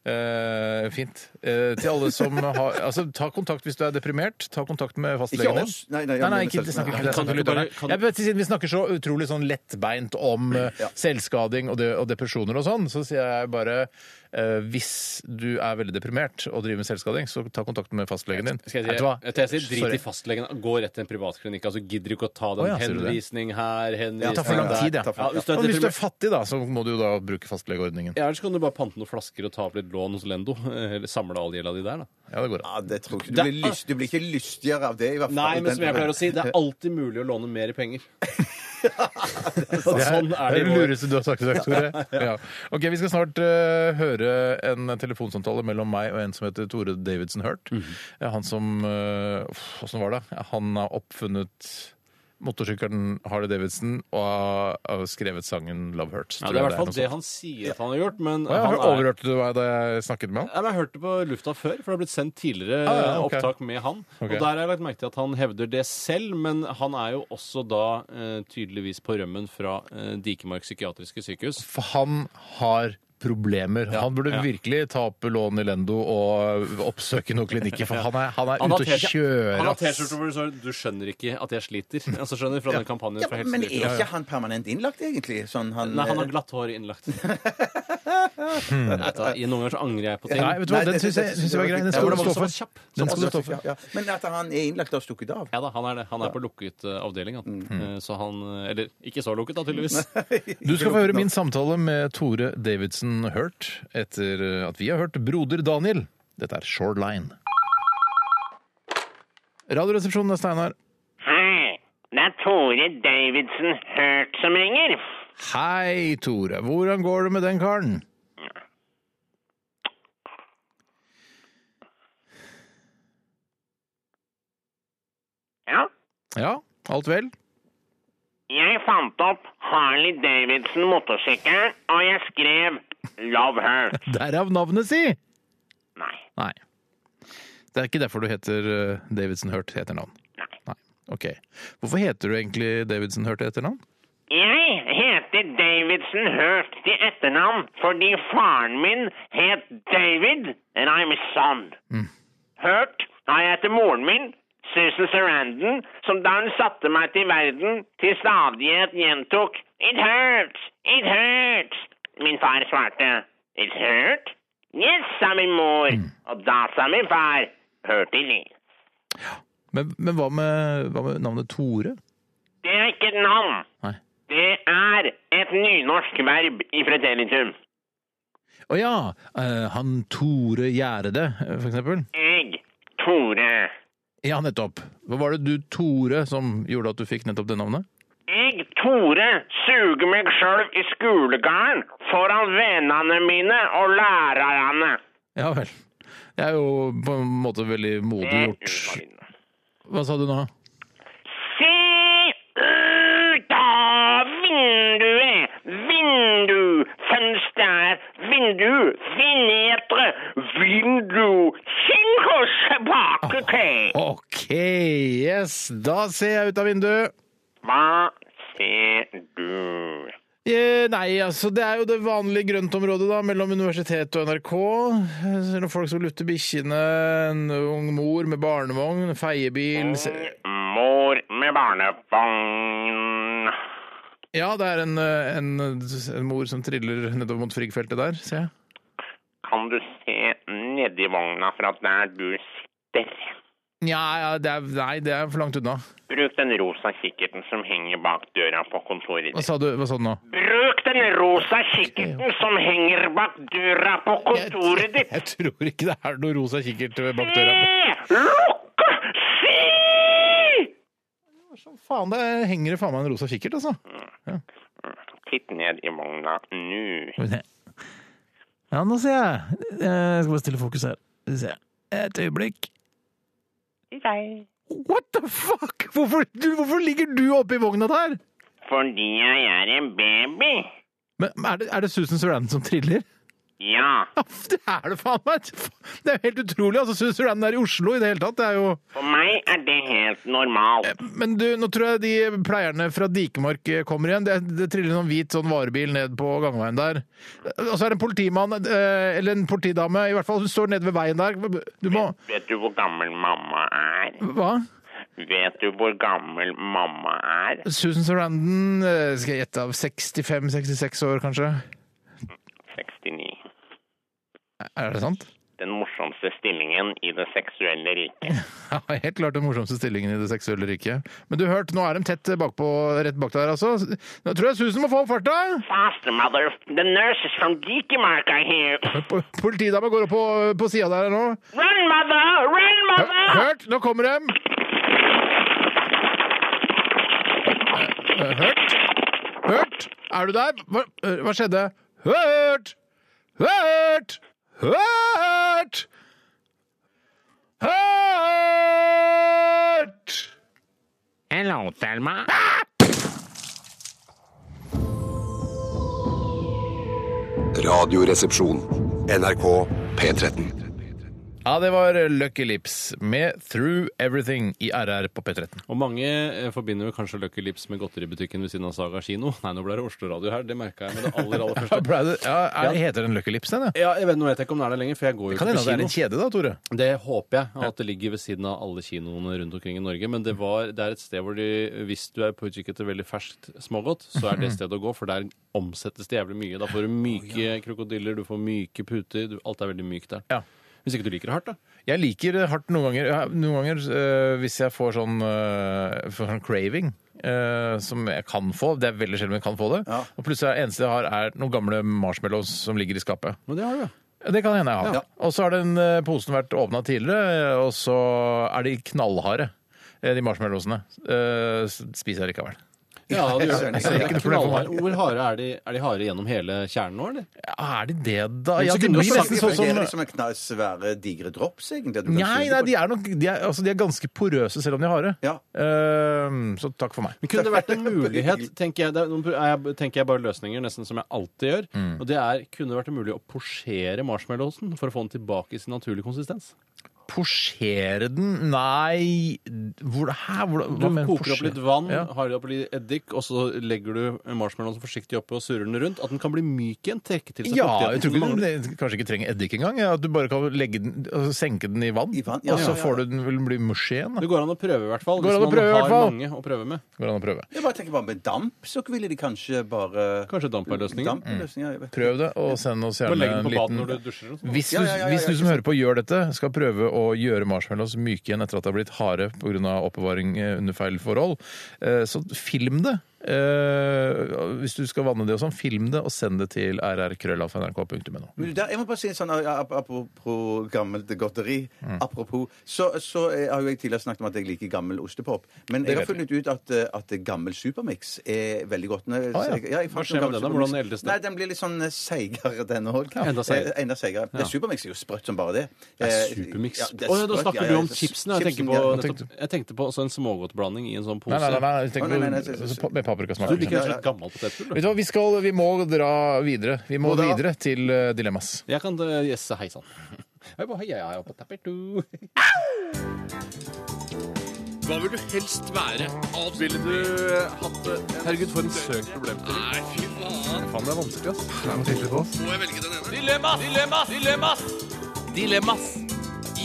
Eh, fint. Eh, til alle som har Altså, ta kontakt hvis du er deprimert. Ta kontakt med Ikke fastlegen din. oss. Nei, nei, Nei, nei, ikke, det snakker ikke, det Kan snakker du ikke bare- lytterne. kan- Jeg vet, Siden vi snakker så utrolig sånn lettbeint om eh, selvskading og, det, og depresjoner og sånn, så sier jeg bare eh, hvis du er veldig deprimert og driver med selvskading, så ta kontakt med fastlegen din. Skal Vet jeg du si, hva? jeg, jeg sier, drit Sorry. i fastlegen. Gå rett til en privatklinikk. Altså, gidder ikke å ta den Å, ja, sier du det? henvisning her, Det henvisning tar for lang der. tid, ja. ja. Hvis du Og er hvis du er deprimert fattig, da, så må du jo da bruke fastlegeordningen. ja, Ellers kan du bare pante noen flasker og ta opp litt lån hos Lendo. Eller samle all gjelda di der, da. Ja, det går an. Ja, det tror jeg ikke. Du blir, lyst, du blir ikke lystigere av det, i hvert fall. Nei, men som jeg pleier å si, det er alltid mulig å låne mer penger. sånn er det det i vår. lureste du har sagt i dag, Tore. Ja. Ok, Vi skal snart eh, høre en telefonsamtale mellom meg og en som heter Tore Davidsen Hurt. Det er Han som eh, uff, Åssen var det? Han har oppfunnet motorsykkelen Harley Davidson og har- har skrevet sangen 'Love Hurts'. Ja, tror det er i jeg hvert fall noe det sånt. han sier at han har gjort, men Å, ja, han har- Overhørte du meg da jeg snakket med han? Ja, men Jeg har hørt det på lufta før, for det har blitt sendt tidligere Ah, ja, ok. opptak med han. Ok. Og der har jeg lagt merke til at han hevder det selv, men han er jo også da eh, tydeligvis på rømmen fra eh, Dikemark psykiatriske sykehus. For han har problemer. han burde ja. virkelig ta opp lån i Lendo og oppsøke noen klinikker, for han er, han er Han har ute å T-skjorte- kjøre. han har ass. T-skjorte hvor det står 'Du skjønner ikke at jeg sliter'. Altså skjønner Fra den kampanjen fra Ja, men Helsedirektoratet. er ikke han permanent innlagt, egentlig? Sånn, han, Nei, han har glatt hår innlagt. Hmm. Hmm. Nei, da, i noen ganger så angrer jeg på ting. Nei, vet du hva, Nei, den det- syns jeg, det- synes jeg var grei. Den Ja, skal du men det stå var for. så kjapp. Den skal du stå Ja, for. ja. Men at han er innlagt og stukket av? Ja da, han er det. Han er på lukket eh, avdeling, han. Hmm. Eh, Så han eh, Eller ikke så lukket, da, tydeligvis. Du skal få høre min samtale med Tore Davidsen Hurt etter at vi har hørt Broder Daniel. Dette er Shoreline. Radioresepsjonen er Steinar. Hei, det er Tore Davidsen Hørt som ringer. Hei, Tore. Hvordan går det med den karen? Ja, Ja, alt vel? jeg fant opp Harley Davidson motorsykkelen, og jeg skrev Love Her. Derav navnet si! Nei, Nei. Det er ikke derfor du heter eh, Davidsen Hurt til etternavn? Nei. Ok. Hvorfor heter du egentlig Davidsen Hurt til etternavn? jeg heter Davidson Hørt til etternavn fordi faren min het David, and I'm his son. Hørt har jeg etter moren min, Susan Sarandon, som da hun satte meg til verden, til stadighet gjentok It hurts! It hurts! Min far svarte It hurt? Yes, sa min mor. Og da sa min far Hurt i liv. Men, men hva, med, hva med navnet Tore? Det er ikke et navn. Nei. Det er et nynorsk verb i pretelitum. Å ja! eh, han Tore Gjerde, eh, for eksempel. Jeg, Tore. Ja, nettopp. Hva var det du, Tore, som gjorde at du fikk nettopp det navnet? Jeg, Tore, suger meg sjøl i skolegarden foran vennene mine og lærerne. Ja vel. Det er jo på en måte veldig Det modig er gjort. uvalid. Hva sa du nå? Se ut av vinduet! Vindu! Fønster! Vindu! Finetre! Vindu! Kikk oss tilbake til! Ok, yes! Da ser jeg ut av vinduet. Hva ser du? Eh, Nei, altså det er jo det vanlige grøntområdet da, mellom universitet og NRK. Eh, så er det Folk som lutter bikkjene, en ung mor med barnevogn, en feiebil se- Mor med barnevogn. Ja, det er en, eh, en, en mor som triller nedover mot Frigg-feltet der, ser jeg. Kan du se nedi vogna fra der du sitter? Nja, ja, det er, nei, det er for langt unna. Bruk den rosa kikkerten som henger bak døra på kontoret Hva ditt. sa du, hva sa du nå? Bruk den rosa kikkerten som henger bak døra på kontoret ditt! Jeg tror ikke det er noe rosa kikkert bak døra. Se! Lukk! Se! Som faen, det henger det faen meg en rosa kikkert, altså. Titt ned i vogna nå. Skal vi se. Ja, nå ser jeg. Eh, Jeg skal bare stille fokus her. Skal vi se. Et øyeblikk. What the fuck? Hvorfor, du, hvorfor ligger du oppi vogna der? fordi jeg er en baby. Men men er det, er det Susan Sarandon som triller? Ja, Ja, Det er det faen meg! Det er jo helt utrolig. altså Susan Sarandon er i Oslo i det hele tatt. Det er jo... for meg er det helt normalt. Men du, nå tror jeg de pleierne fra Dikemark eh, kommer igjen. Det, det triller en sånn hvit sånn varebil ned på gangveien der. Og så er det en politimann, eh, eller en politidame, i hvert fall, som står nede ved veien der. Du må Vet du hvor gammel mamma er? Hva? Vet du hvor gammel mamma er? Susan Sarandon, eh, skal jeg gjette av 65-66 år, kanskje? 69. Er det sant? Den morsomste stillingen i det seksuelle riket. Ja, helt klart den morsomste stillingen i det seksuelle riket. Men du hørt, nå er de tett bakpå, rett bak der, altså. Nå tror jeg Susan må få opp farta! Faster, mother. The nurses from Dikemark are here. Po- Politidama går opp på, på sida der nå. Run, mother! Run, mother! Hørt, nå kommer de! Hørt? Hørt? Er du der? Hva, eh, hva skjedde? Hørt! Hørt! Hørt! Hørt! Hello, Thelma. Radioresepsjon. NRK P13. Ja, det var Lucky Lips med Through Everything i RR på P13. Og mange eh, forbinder jo kanskje Lucky Lips med godteributikken ved siden av Saga kino. Nei, nå ble det Oslo Radio her, det merka jeg med det aller, aller Ja, første. ble det- ja, er, heter den Lucky Lips, den? Ja? Ja, jeg vet, Nå vet jeg ikke om det er der lenger, for jeg går jo Kan hende ikke at det er på en kino. kjede, da, Tore? Det håper jeg, at det ligger ved siden av alle kinoene rundt omkring i Norge. Men det, var, det er et sted hvor de, hvis du er på utkikk etter veldig ferskt smågodt, så er det stedet å gå, for der omsettes det jævlig mye. Da får du myke krokodiller, du får myke puter, du, alt er veldig mykt der. Ja. Hvis ikke du liker det hardt, da. Jeg liker det hardt noen ganger. Ja, Noen ganger øh, hvis jeg får sånn, øh, får sånn craving, øh, som jeg kan få Det er veldig sjelden jeg kan få det. Ja. Og plutselig er det eneste jeg har, er noen gamle marshmallows som ligger i skapet. Men det har du, ja. Ja, Det kan hende jeg har. Og så har den eh, posen vært åpna tidligere, eh, og så er de knallharde, eh, de marshmallowsene. Eh, s- Spiser jeg likevel. Ja, det gjør skjønner. Det det. er ikke noe problem for meg. Knallhard. Hvor harde er de? Er de harde gjennom hele kjernen nå, eller? Ja, er de det, da? Men Ja, så de kunne du blir sagt nesten Det sånn som fungerer liksom en knall svære, digre drops, egentlig. at du kan Nei, suge nei på. de, er nok, de, er, altså, de er ganske porøse selv om de er harde. Ja. Eh, så takk for meg. Men kunne det vært en mulighet, tenker jeg, det er, nå er jeg- tenker jeg bare løsninger, nesten som jeg alltid gjør, Mm. og det er, kunne det vært mulig å posjere marshmallowsen for å få den tilbake i sin naturlige konsistens? Posjere den? Nei Hvor, hæ? Hvor, Du koker opp litt vann, Ja. har det opp litt eddik, og så legger du marshmallowsen forsiktig oppi og surrer den rundt, at den kan bli myk igjen, trekke til seg Ja, jeg fuktigheten tror som ikke du mangler. det- kanskje ikke trenger eddik engang. Ja, at du bare kan legge den, altså, senke den i vann, I vann, ja, og så ja, ja. får du den vil den bli mushy igjen. da. Det går an å prøve i hvert fall, Går hvis an å man prøve i har hvert fall. mange å prøve med. Går an å prøve. Jeg bare tenker bare med damp, så ville de kanskje bare Kanskje damp er løsningen? Dampløsninger, jeg vet. Prøv det, og send oss Du gjerne må en legge den på badet liten når du dusjer. og sånn. hvis du, Ja, ja, ja, ja, hvis du ikke som hører på gjør dette, skal prøve å gjøre marshmallows myke igjen etter at det har blitt harde pga. oppbevaring eh, under feil forhold, eh, så film det. Eh, Hvis du skal vanne det og sånn, film det og send det til rrkrøllalfa.nrk.no. Men du, der, jeg må bare si en sånn ap- ap- Apropos gammelt godteri. Mm. Apropos, så, så eh, har jo jeg tidligere snakket om at jeg liker gammel ostepop. Men jeg har vet vi. funnet ut at, eh, at gammel Supermix er veldig godt. Når, Ah, ja. jeg- jeg fant Hva skjer med noen den da? gammel Hvordan Supermix. eldes den? Nei, Den blir litt sånn eh, seigere, den òg. Enda seigere. Enda seigere. Eh, Supermix er jo sprøtt som bare det. Det Eh, er Supermix. ja, Å, det er Ja, da sprøtt, snakker ja, du ja, om ja. chipsene. Jeg tenker Chipsen, på, ja. hva tenkte nettopp, jeg tenkte på også en smågodtblanding i en sånn pose. Nei, nei, nei, nei, jeg tenker Å, nei, nei, nei, på- nei, nei, så pa- med paprikasmak. Du liksom. liker sånn rett og slett gammel potetgull? Vet du. du hva, vi, skal, vi må dra videre. Vi må Må dra. videre til eh, Dilemmas. Jeg kan eh, gjesse hei sann. Hei, hei, hei, hei, på tapper, du. Hva vil du helst være? Ville du eh, hatt det? Herregud, for en søk problemstilling. Nei, fy faen. Faen, det er vanskelig, ass. Må jeg velge den ene? Dilemmas! Dilemmas! Dilemmas! Dilemmas!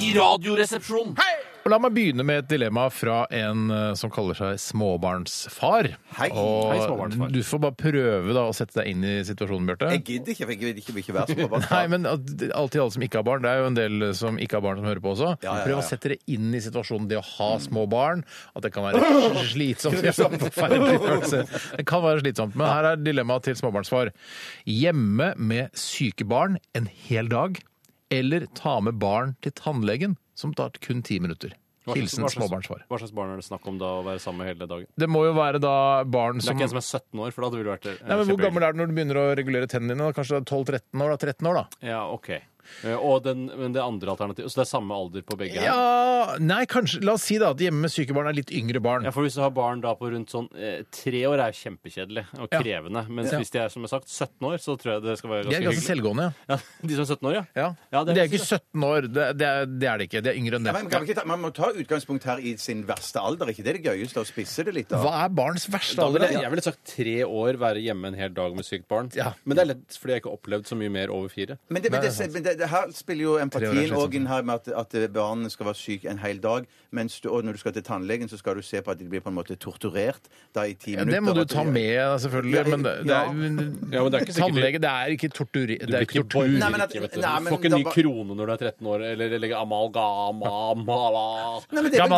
I Radioresepsjonen. Og La meg begynne med et dilemma fra en eh, som kaller seg småbarnsfar. Hei. og Hei, småbarnsfar. Du får bare prøve da, å sette deg inn i situasjonen, Bjarte. Jeg gidder ikke, for jeg vil ikke, vil ikke være så bare- Nei, men at- alltid alle som ikke har barn. Det er jo en del eh, som ikke har barn som hører på også. Ja, ja, ja, Prøv ja. å sette dere inn i situasjonen det å ha små barn. At det kan være slitsomt. Ja, forferdelig følelse. Det kan være slitsomt. Men her er dilemmaet til småbarnsfar. Hjemme med syke barn en hel dag, eller ta med barn til tannlegen, som tar kun ti minutter. Hilsen småbarnsfar. Hva slags barn er det snakk om da å være sammen med hele dagen? Det må jo være da barn Det er som ikke en som er 17 år, for da hadde det vært eh, Nei, men Hvor gammel er du når du begynner å regulere tennene? dine? da? Kanskje 12-13 år? da? 13 år, da? Ja, ok. Eh, Og den, men det andre alternativet Så det er samme alder på begge her? Ja Nei, kanskje La oss si da at hjemme med syke barn er litt yngre barn. Ja, for hvis du har barn da på rundt sånn eh, tre år, er kjempekjedelig og Ja. krevende. Mens Ja. hvis de er som jeg har sagt 17 år, så tror jeg det skal være De ganske, er ganske hyggelig. selvgående, ja. Ja, de som er 17 år, ja. ja. Ja, det er Men de er ganske ikke 17 år. Det, det, er, det er de ikke. De er yngre enn det. Ja, men kan vi ikke ta, man må ta utgangspunkt her i sin verste alder. ikke det er det gøyeste å spisse det litt? da? Hva er barns verste Da alder? ville jeg, jeg ville sagt tre år, være hjemme en hel dag med sykt barn. Ja. Men det er lett fordi jeg ikke har opplevd så mye mer over fire. Men, det, men, det, men det, det her spiller jo Tre år er empatien slitsomt. òg inn her med at, at barnet skal være syk en hel dag. Mens du, og når du skal til tannlegen, så skal du se på at de blir på en måte torturert da i ti Ja, minutter. det må du at de- ta med, selvfølgelig. Ja, Men det, det ja. er, Ja, men det er ikke sikkert- Tannlege, det er ikke tortur. Du Det blir er ikke ikke tortur. borger, Nei, men at- ikke, vet du. nei, Du men får ikke ny da- krone når du er 13 år, eller legge amalgam, amala. Nei, men det er vel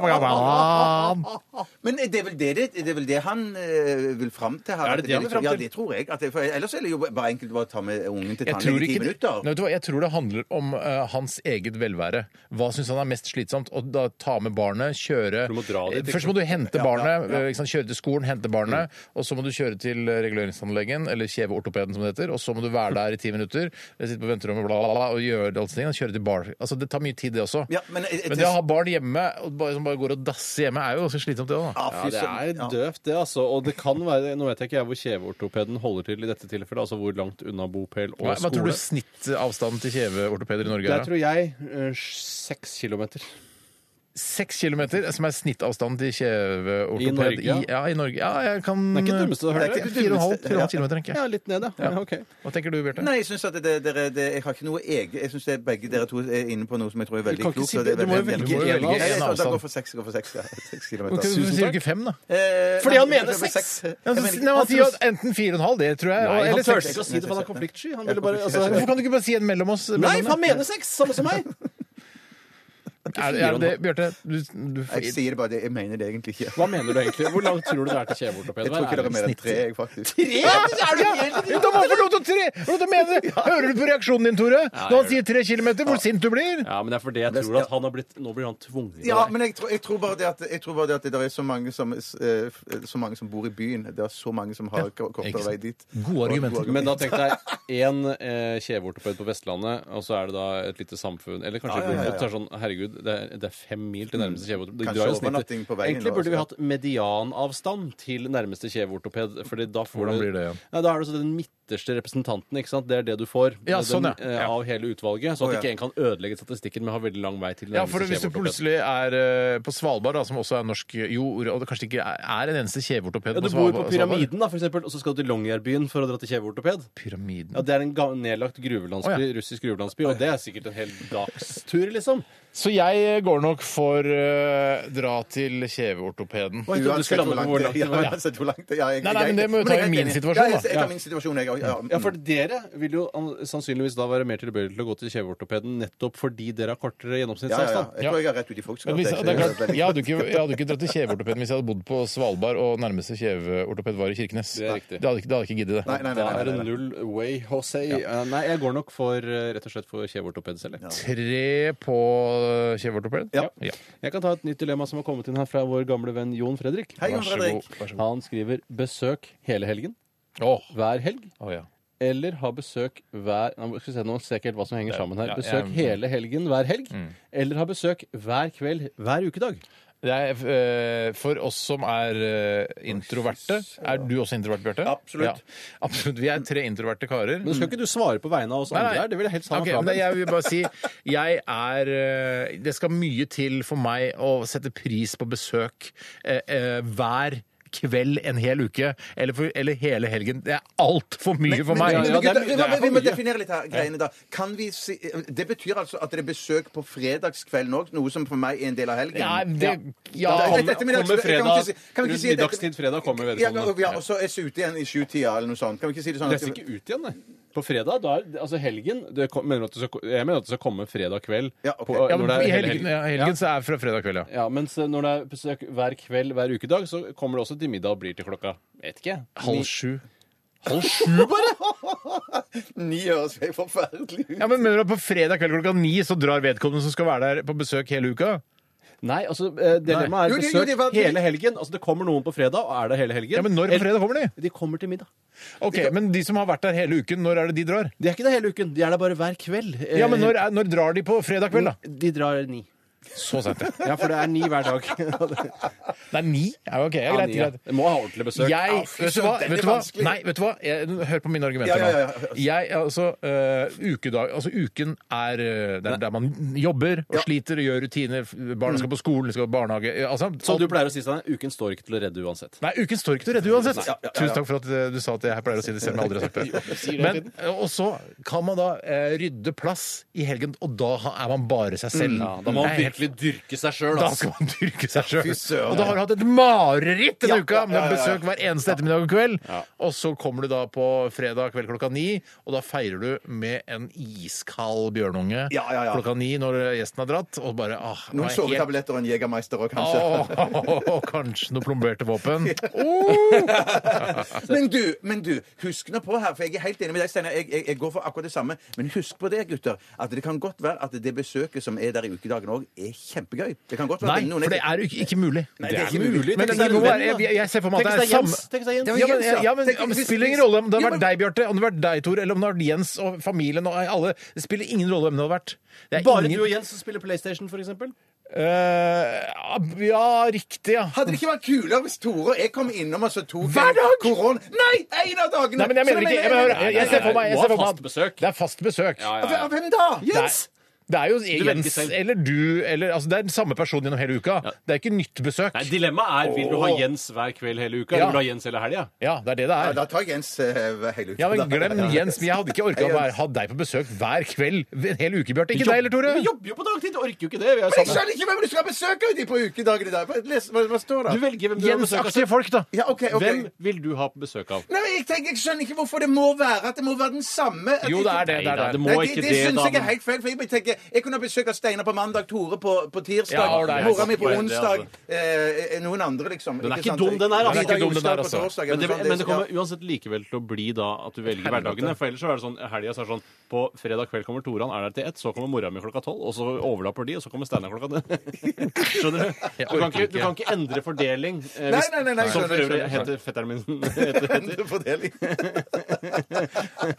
det- Gammalabba-gammalabba-gammalabba-gammalabba. Men det er vel det, det, det, er vel det han eh, vil fram til her? Er det at liksom- det han vil fram Ja, til? det tror jeg. At det, for ellers er det jo bare enkelt å bare ta med ungen til Jeg tror, tannlegen i ti ikke, minutter. Nei, vet du hva, jeg tror det handler om eh, hans eget velvære. Hva syns han er mest slitsomt? Å da ta med barnet, kjøre Du må dra dit, ikke Først må du hente barnet, eh, ikke sant? kjøre til skolen, hente barnet. Mm. Og så må du kjøre til eh, reguleringsanleggen, eller kjeveortopeden som det heter. Og så må du være der i ti minutter, eh, sitte på venterommet bla, bla, bla, og gjøre alle disse tingene. Kjøre til bar. Altså, det tar mye tid, det også. Ja, men, eh, Men det å ha barn hjemme og bare, som bare går og dasser hjemme, er jo ganske slitsomt, det òg, da. Ja, Ja, Ah, fy det søren. er døvt, det, altså. Og det kan være Nå vet jeg ikke jeg hvor kjeveortopeden holder til i dette tilfellet, altså hvor langt unna bopel og Hva, hva tror skole. du snittavstanden til kjeveortopeder i Norge Der er? da? tror jeg eh, seks kilometer. Seks kilometer, som er snittavstanden til kjeveortoped I Norge, ja. ja. I, ja, i Norge. Ja, jeg kan Det er ikke det dummeste du har hørt, Det er det. ikke- Fire og en halv fire og en halv Ja. kilometer, tenker Ja, jeg. litt ned, ja. ja. ok. Hva tenker du, Bjarte? Nei, jeg synes at det, det, det, det, jeg har ikke noe eget Jeg synes det er begge dere to er inne på noe som jeg tror er veldig kan ikke klokt. si- og det er du må jo veldig- velge Du må jo en av oss. Nei, jeg tror avstand. det går for seks, går for seks, ja. seks Hvorfor kilometer. sier du ikke fem, da? Eh, Fordi han nei, mener jeg tror det er seks. Ja, Jeg mener Altså, men, ikke- nei, han man sier jo synes- enten fire og en halv, det tror jeg. Nei, og- eller han turte seks. ikke å si det, for han er konfliktsky. Han ville Jeg bare kommer ikke til å altså, Hvorfor kan du ikke bare si en mellom oss? Nei, mellom for han det? mener seks! Samme som meg! Er, er det Bjarte? Du, du, Jeg sier det bare, det, jeg mener det egentlig ikke. Hva mener du egentlig? Hvor langt tror du det er til Jeg kjeveortoped? tror ikke Vær dere ærlig. mener tre, jeg, faktisk. Tre? Er du helt da må du få lov til å tre! Hva er det du mener? Hører du på reaksjonen din, Tore? Når han sier tre kilometer, hvor sint du blir? Ja, men det er fordi jeg tror at han har blitt Nå blir han tvunget Ja, men jeg tror, jeg tror bare det at, jeg tror bare det, at det der er så mange, som, eh, f- så mange som bor i byen. Det er så mange som har ko- kortere ikke vei sant. dit. Gode argumenter. Men da tenk deg én eh, kjeveortoped på Vestlandet, og så er det da et lite samfunn Eller kanskje ja, ja, ja. Mm. Lofoten. så er det Sånn, herregud, det er, det er fem mil til nærmeste kjeveortoped. De Kanskje drar jo snittet. overnatting på veien Egentlig da, burde altså. vi hatt medianavstand til nærmeste kjeveortoped. Fordi da får Hvordan du- blir det igjen? Nei, da er det altså den midterste representanten. ikke sant? Det er det du får Ja, sånn, ja. den, eh, av hele utvalget. Så Å, at ja. ikke en kan ødelegge statistikken med å ha veldig lang vei til Ja, for nærmeste hvis du kjeveortoped. plutselig er eh, på Svalbard, da, som også er norsk jord, og det kanskje ikke er- er en eneste kjeveortoped Ja, du på bor Svalbard på Pyramiden, da, for eksempel, og så skal du til Longyearbyen for å dra til kjeveortoped. Pyramiden. Ja, Det er en ga- nedlagt gruvelandsby, Å, ja. russisk gruvelandsby, og det er sikkert en hel dagstur, liksom. Så jeg går nok for eh, dra til kjeveortopeden. Oi, du Uansett skulle lande på hvor langt ja, det var. uansett hvor langt det ja, jeg- Nei, nei, men det må jo jeg- ta i jeg- min situasjon, Ja, jeg, da. jeg tar min situasjon, jeg òg. Ja, mm. Ja, for dere vil jo an- sannsynligvis da være mer tilbøyelige til å gå til kjeveortopeden nettopp fordi dere har kortere ja, ja, ja. gjennomsnittsavstand. Jeg tror jeg har rett ut i folks Men hvis, jeg- det er klart, jeg, hadde ikke, jeg hadde ikke dratt til kjeveortopeden hvis jeg hadde bodd på Svalbard og nærmeste kjeveortoped var i Kirkenes. Det er riktig. Det hadde, ikke- det hadde ikke giddet det. Nei, nei, nei, Da nei, er nei, det nei. null way, Jose. Eh, Nei, jeg går nok for eh, rett og slett for kjeveortoped selv. jeg. Tre på eh, kjeveortoped? Ja. Jeg kan ta et nytt dilemma som har kommet inn her fra vår gamle venn Jon Fredrik. Hei, Jon Vær så Fredrik. god. Vær så god. Han skriver 'besøk hele helgen', Åh, hver helg, åh, ja. eller ha besøk hver Nå skal vi se, nå ser jeg ikke helt hva som henger sammen her. ja, Besøk jeg- hele helgen hver helg, eller ha besøk hver kveld hver ukedag. Det er, eh, for oss som er eh, introverte Er du også introvert, Bjarte? Absolutt. Ja. Absolutt. Vi er tre introverte karer. Men skal ikke du svare på vegne av oss Nei, nei. andre her? Det vil jeg helst ha Ok, meg fra men jeg vil bare si jeg er eh, Det skal mye til for meg å sette pris på besøk eh, eh, hver kveld en hel uke, eller, for, eller hele helgen. Det er altfor mye for meg. Ja, ja, Men, men, det er gutter, mye- vi, det er må, vi må for mye. definere litt her greiene da. Kan vi si, det betyr altså at det er besøk på fredagskvelden òg, noe som for meg er en del av helgen? Nei, det, ja, Ja, det er- Kommer, Dette ettermiddags- kommer kan vi fredag, ikke si- kan vi ikke rundt si det- middagstid fredag kommer Ja, og vedkommende. vi har også er ute igjen i sjutida eller noe sånt. Kan vi ikke si det sånn? Det at- ser ikke ut igjen, nei. På fredag, da er, altså helgen det kom, mener du at det skal, Jeg mener at det skal komme fredag kveld. Ja, ok. på- ja, når det er I hele helgen, ja, helgen så er det fra fredag kveld, ja. Ja, mens eh, når det er besøk hver kveld hver ukedag, så kommer det også til middag og blir til klokka Vet ikke. Halv sju. halv sju, bare?! Ni høres helt forferdelig ut. Ja, men mener du at På fredag kveld klokka ni så drar vedkommende som skal være der på besøk hele uka? Nei, altså, eh, Nei. dilemmaet er Jo, jo, jo, besøk det var- hele helgen. Altså, det kommer noen på fredag, og er det hele helgen. Ja, men når på Eller- fredag kommer de? De kommer til middag. Ok, Men de som har vært der hele uken, når er det de drar? De er ikke det hele uken, de er der bare hver kveld. Eh, Ja, men når, er, når drar de på fredag kveld, da? De drar ni. Så sent, ja. Ja, for det er ni hver dag. Nei, ni? Ja, ok, ja, Ja, greit, ni, ja. greit. Jeg må ha ordentlig besøk. Jeg, Ja, fy vet du hva? søren, Vet veldig du hva? vanskelig. Nei, vet du hva? Jeg, hør på mine argumenter Ja, ja, ja, nå. Jeg, altså, øh, ukedag, altså, uken er øh, der, der man jobber og sliter og gjør rutiner. f- Mm. Barna skal på skolen, de skal på barnehage. ja, Altså, Som du alt- pleier å si, Steinar, uken står ikke til å redde uansett. Nei, uken står ikke til å redde uansett. Tusen takk for at eh, du sa at jeg pleier å si det selv om jeg aldri har sagt det. Men, eh, og så kan man da eh, rydde plass i helgen, og da ha- er man bare seg selv. da må man Det er helt- virkelig dyrke seg altså. sjøl. da skal man dyrke seg sjøl. Og da har du hatt et mareritt denne uka med besøk hver eneste ettermiddag og kveld. Og så kommer du da på fredag kveld klokka ni, og da feirer du med en iskald bjørnunge Ja, ja, ja. klokka ni når gjesten har dratt, og bare ah, nå er Noen jeg helt- sovetabletter og en Jegermeister òg, kanskje. Åh, kanskje noen plomberte våpen. Men du, men du, husk nå på her, for jeg er helt enig med deg, Steinar. Jeg, jeg, jeg går for akkurat det samme. Men husk på det, gutter, at det kan godt være at det besøket som er der i ukedagen òg, er kjempegøy. Det kan godt være Nei, at noen for det er jo ikke, ikke mulig. Nei, det er ikke mulig. Men Tenk det deg må en være, venn, da. jeg, jeg ser for meg Tenk at det deg er Jens. samme Tenk deg Jens. Ja, men, Jens, ja. ja, men, Tenk- ja, men hvis- det spiller ingen hvis- rolle om det Ja, hadde men- vært deg, Bjarte, om det hadde vært deg, Tor, eller om det hadde vært Jens og familien og alle. Det spiller ingen rolle hvem det hadde vært. Det er Bare ingen- du og Jens som spiller PlayStation, for eksempel. Eh, ja, riktig, ja. Hadde det ikke vært kulere hvis Tore og jeg kom innom og så tok Hver dag! koron... Nei, en av dagene! Nei, men jeg mener Så ikke Jeg, mener, jeg, jeg ser for meg, jeg Må ha ser for meg fast besøk. Det er fast besøk. Av- Av hvem da? Jens! Det er jo Jens selv. eller du eller altså Det er den samme personen gjennom hele uka. Det er ikke nytt besøk. Nei, Dilemmaet er vil du ha Jens hver kveld hele uka, Ja. eller vil du ha Jens hele helga? Ja, det er det det Ja, er. da tar jeg Jens eh, hele uka. Ja, men da. Glem Jens. men Jeg hadde ikke orka å være- ha deg på besøk hver kveld en hel uke, Bjarte. Ikke deg heller, Tore. Vi jobber jo på dagtid, orker jo ikke det. Vi er Jeg sammen. skjønner ikke hvem du skal besøke de på ukedagen i dag. Bare Les, hva, hva står det? Du velger hvem du har Jens besøk altså. av. aktige folk, da. Ja, ok, ok. Hvem vil du ha på besøk av? Nei, men jeg, tenker, jeg skjønner ikke hvorfor det må være at det må være den samme. at Jo, det ikke- er det. det, Nei, er da, det det. må Nei, det, ikke det, det, syns da. jeg er helt feil. For jeg bare tenker, jeg kunne ha besøk av Steinar på mandag, Tore på, på tirsdag, Ja, ålreit. mora mi på Poeng, det, onsdag, altså. eh, eh, noen andre, liksom. Den er Ikke ikke sant? dum, den her, altså. Den er ikke Vidar dum, den her, Jostad på altså. torsdag, Men det, eller sånn, men det skal- kommer uansett likevel til å bli da at du velger hverdagene. For ellers så er det sånn helga så er det sånn På fredag kveld kommer Tore, han er der til ett, så kommer mora mi klokka tolv, og så overlapper de, og så kommer Steinar klokka ni. Skjønner du? Du kan ikke, du kan ikke endre fordeling. eh, Nei, hvis- nei, nei, nei, som skjønner, for øvrig skjønner, heter fetteren min. eh, heter, heter. Fordeling.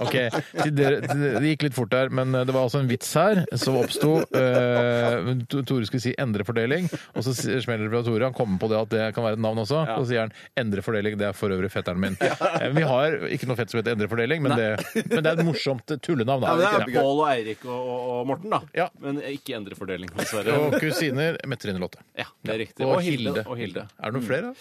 Ok, til dere, til dere- Det gikk litt fort der, men det var altså en vits her som oppsto. Eh, men T- Tore skulle si 'endre fordeling', og så s- smeller det fra Tore. Han kommer på det at det kan være et navn også, og så sier han 'endre fordeling'. Det er for øvrig fetteren min. Eh, Vi har ikke noe fett som heter 'endre fordeling', men det, men det er et morsomt eh, tullenavn. Da. Ja, men det er Ja. Pål og Eirik og, og, og Morten, da. Ja. Men ikke endre fordeling, dessverre. Og kusiner med Trine Lotte. Ja, det er riktig. Og, Og Hilde. Og Hilde. Mm. Er det noen flere? da?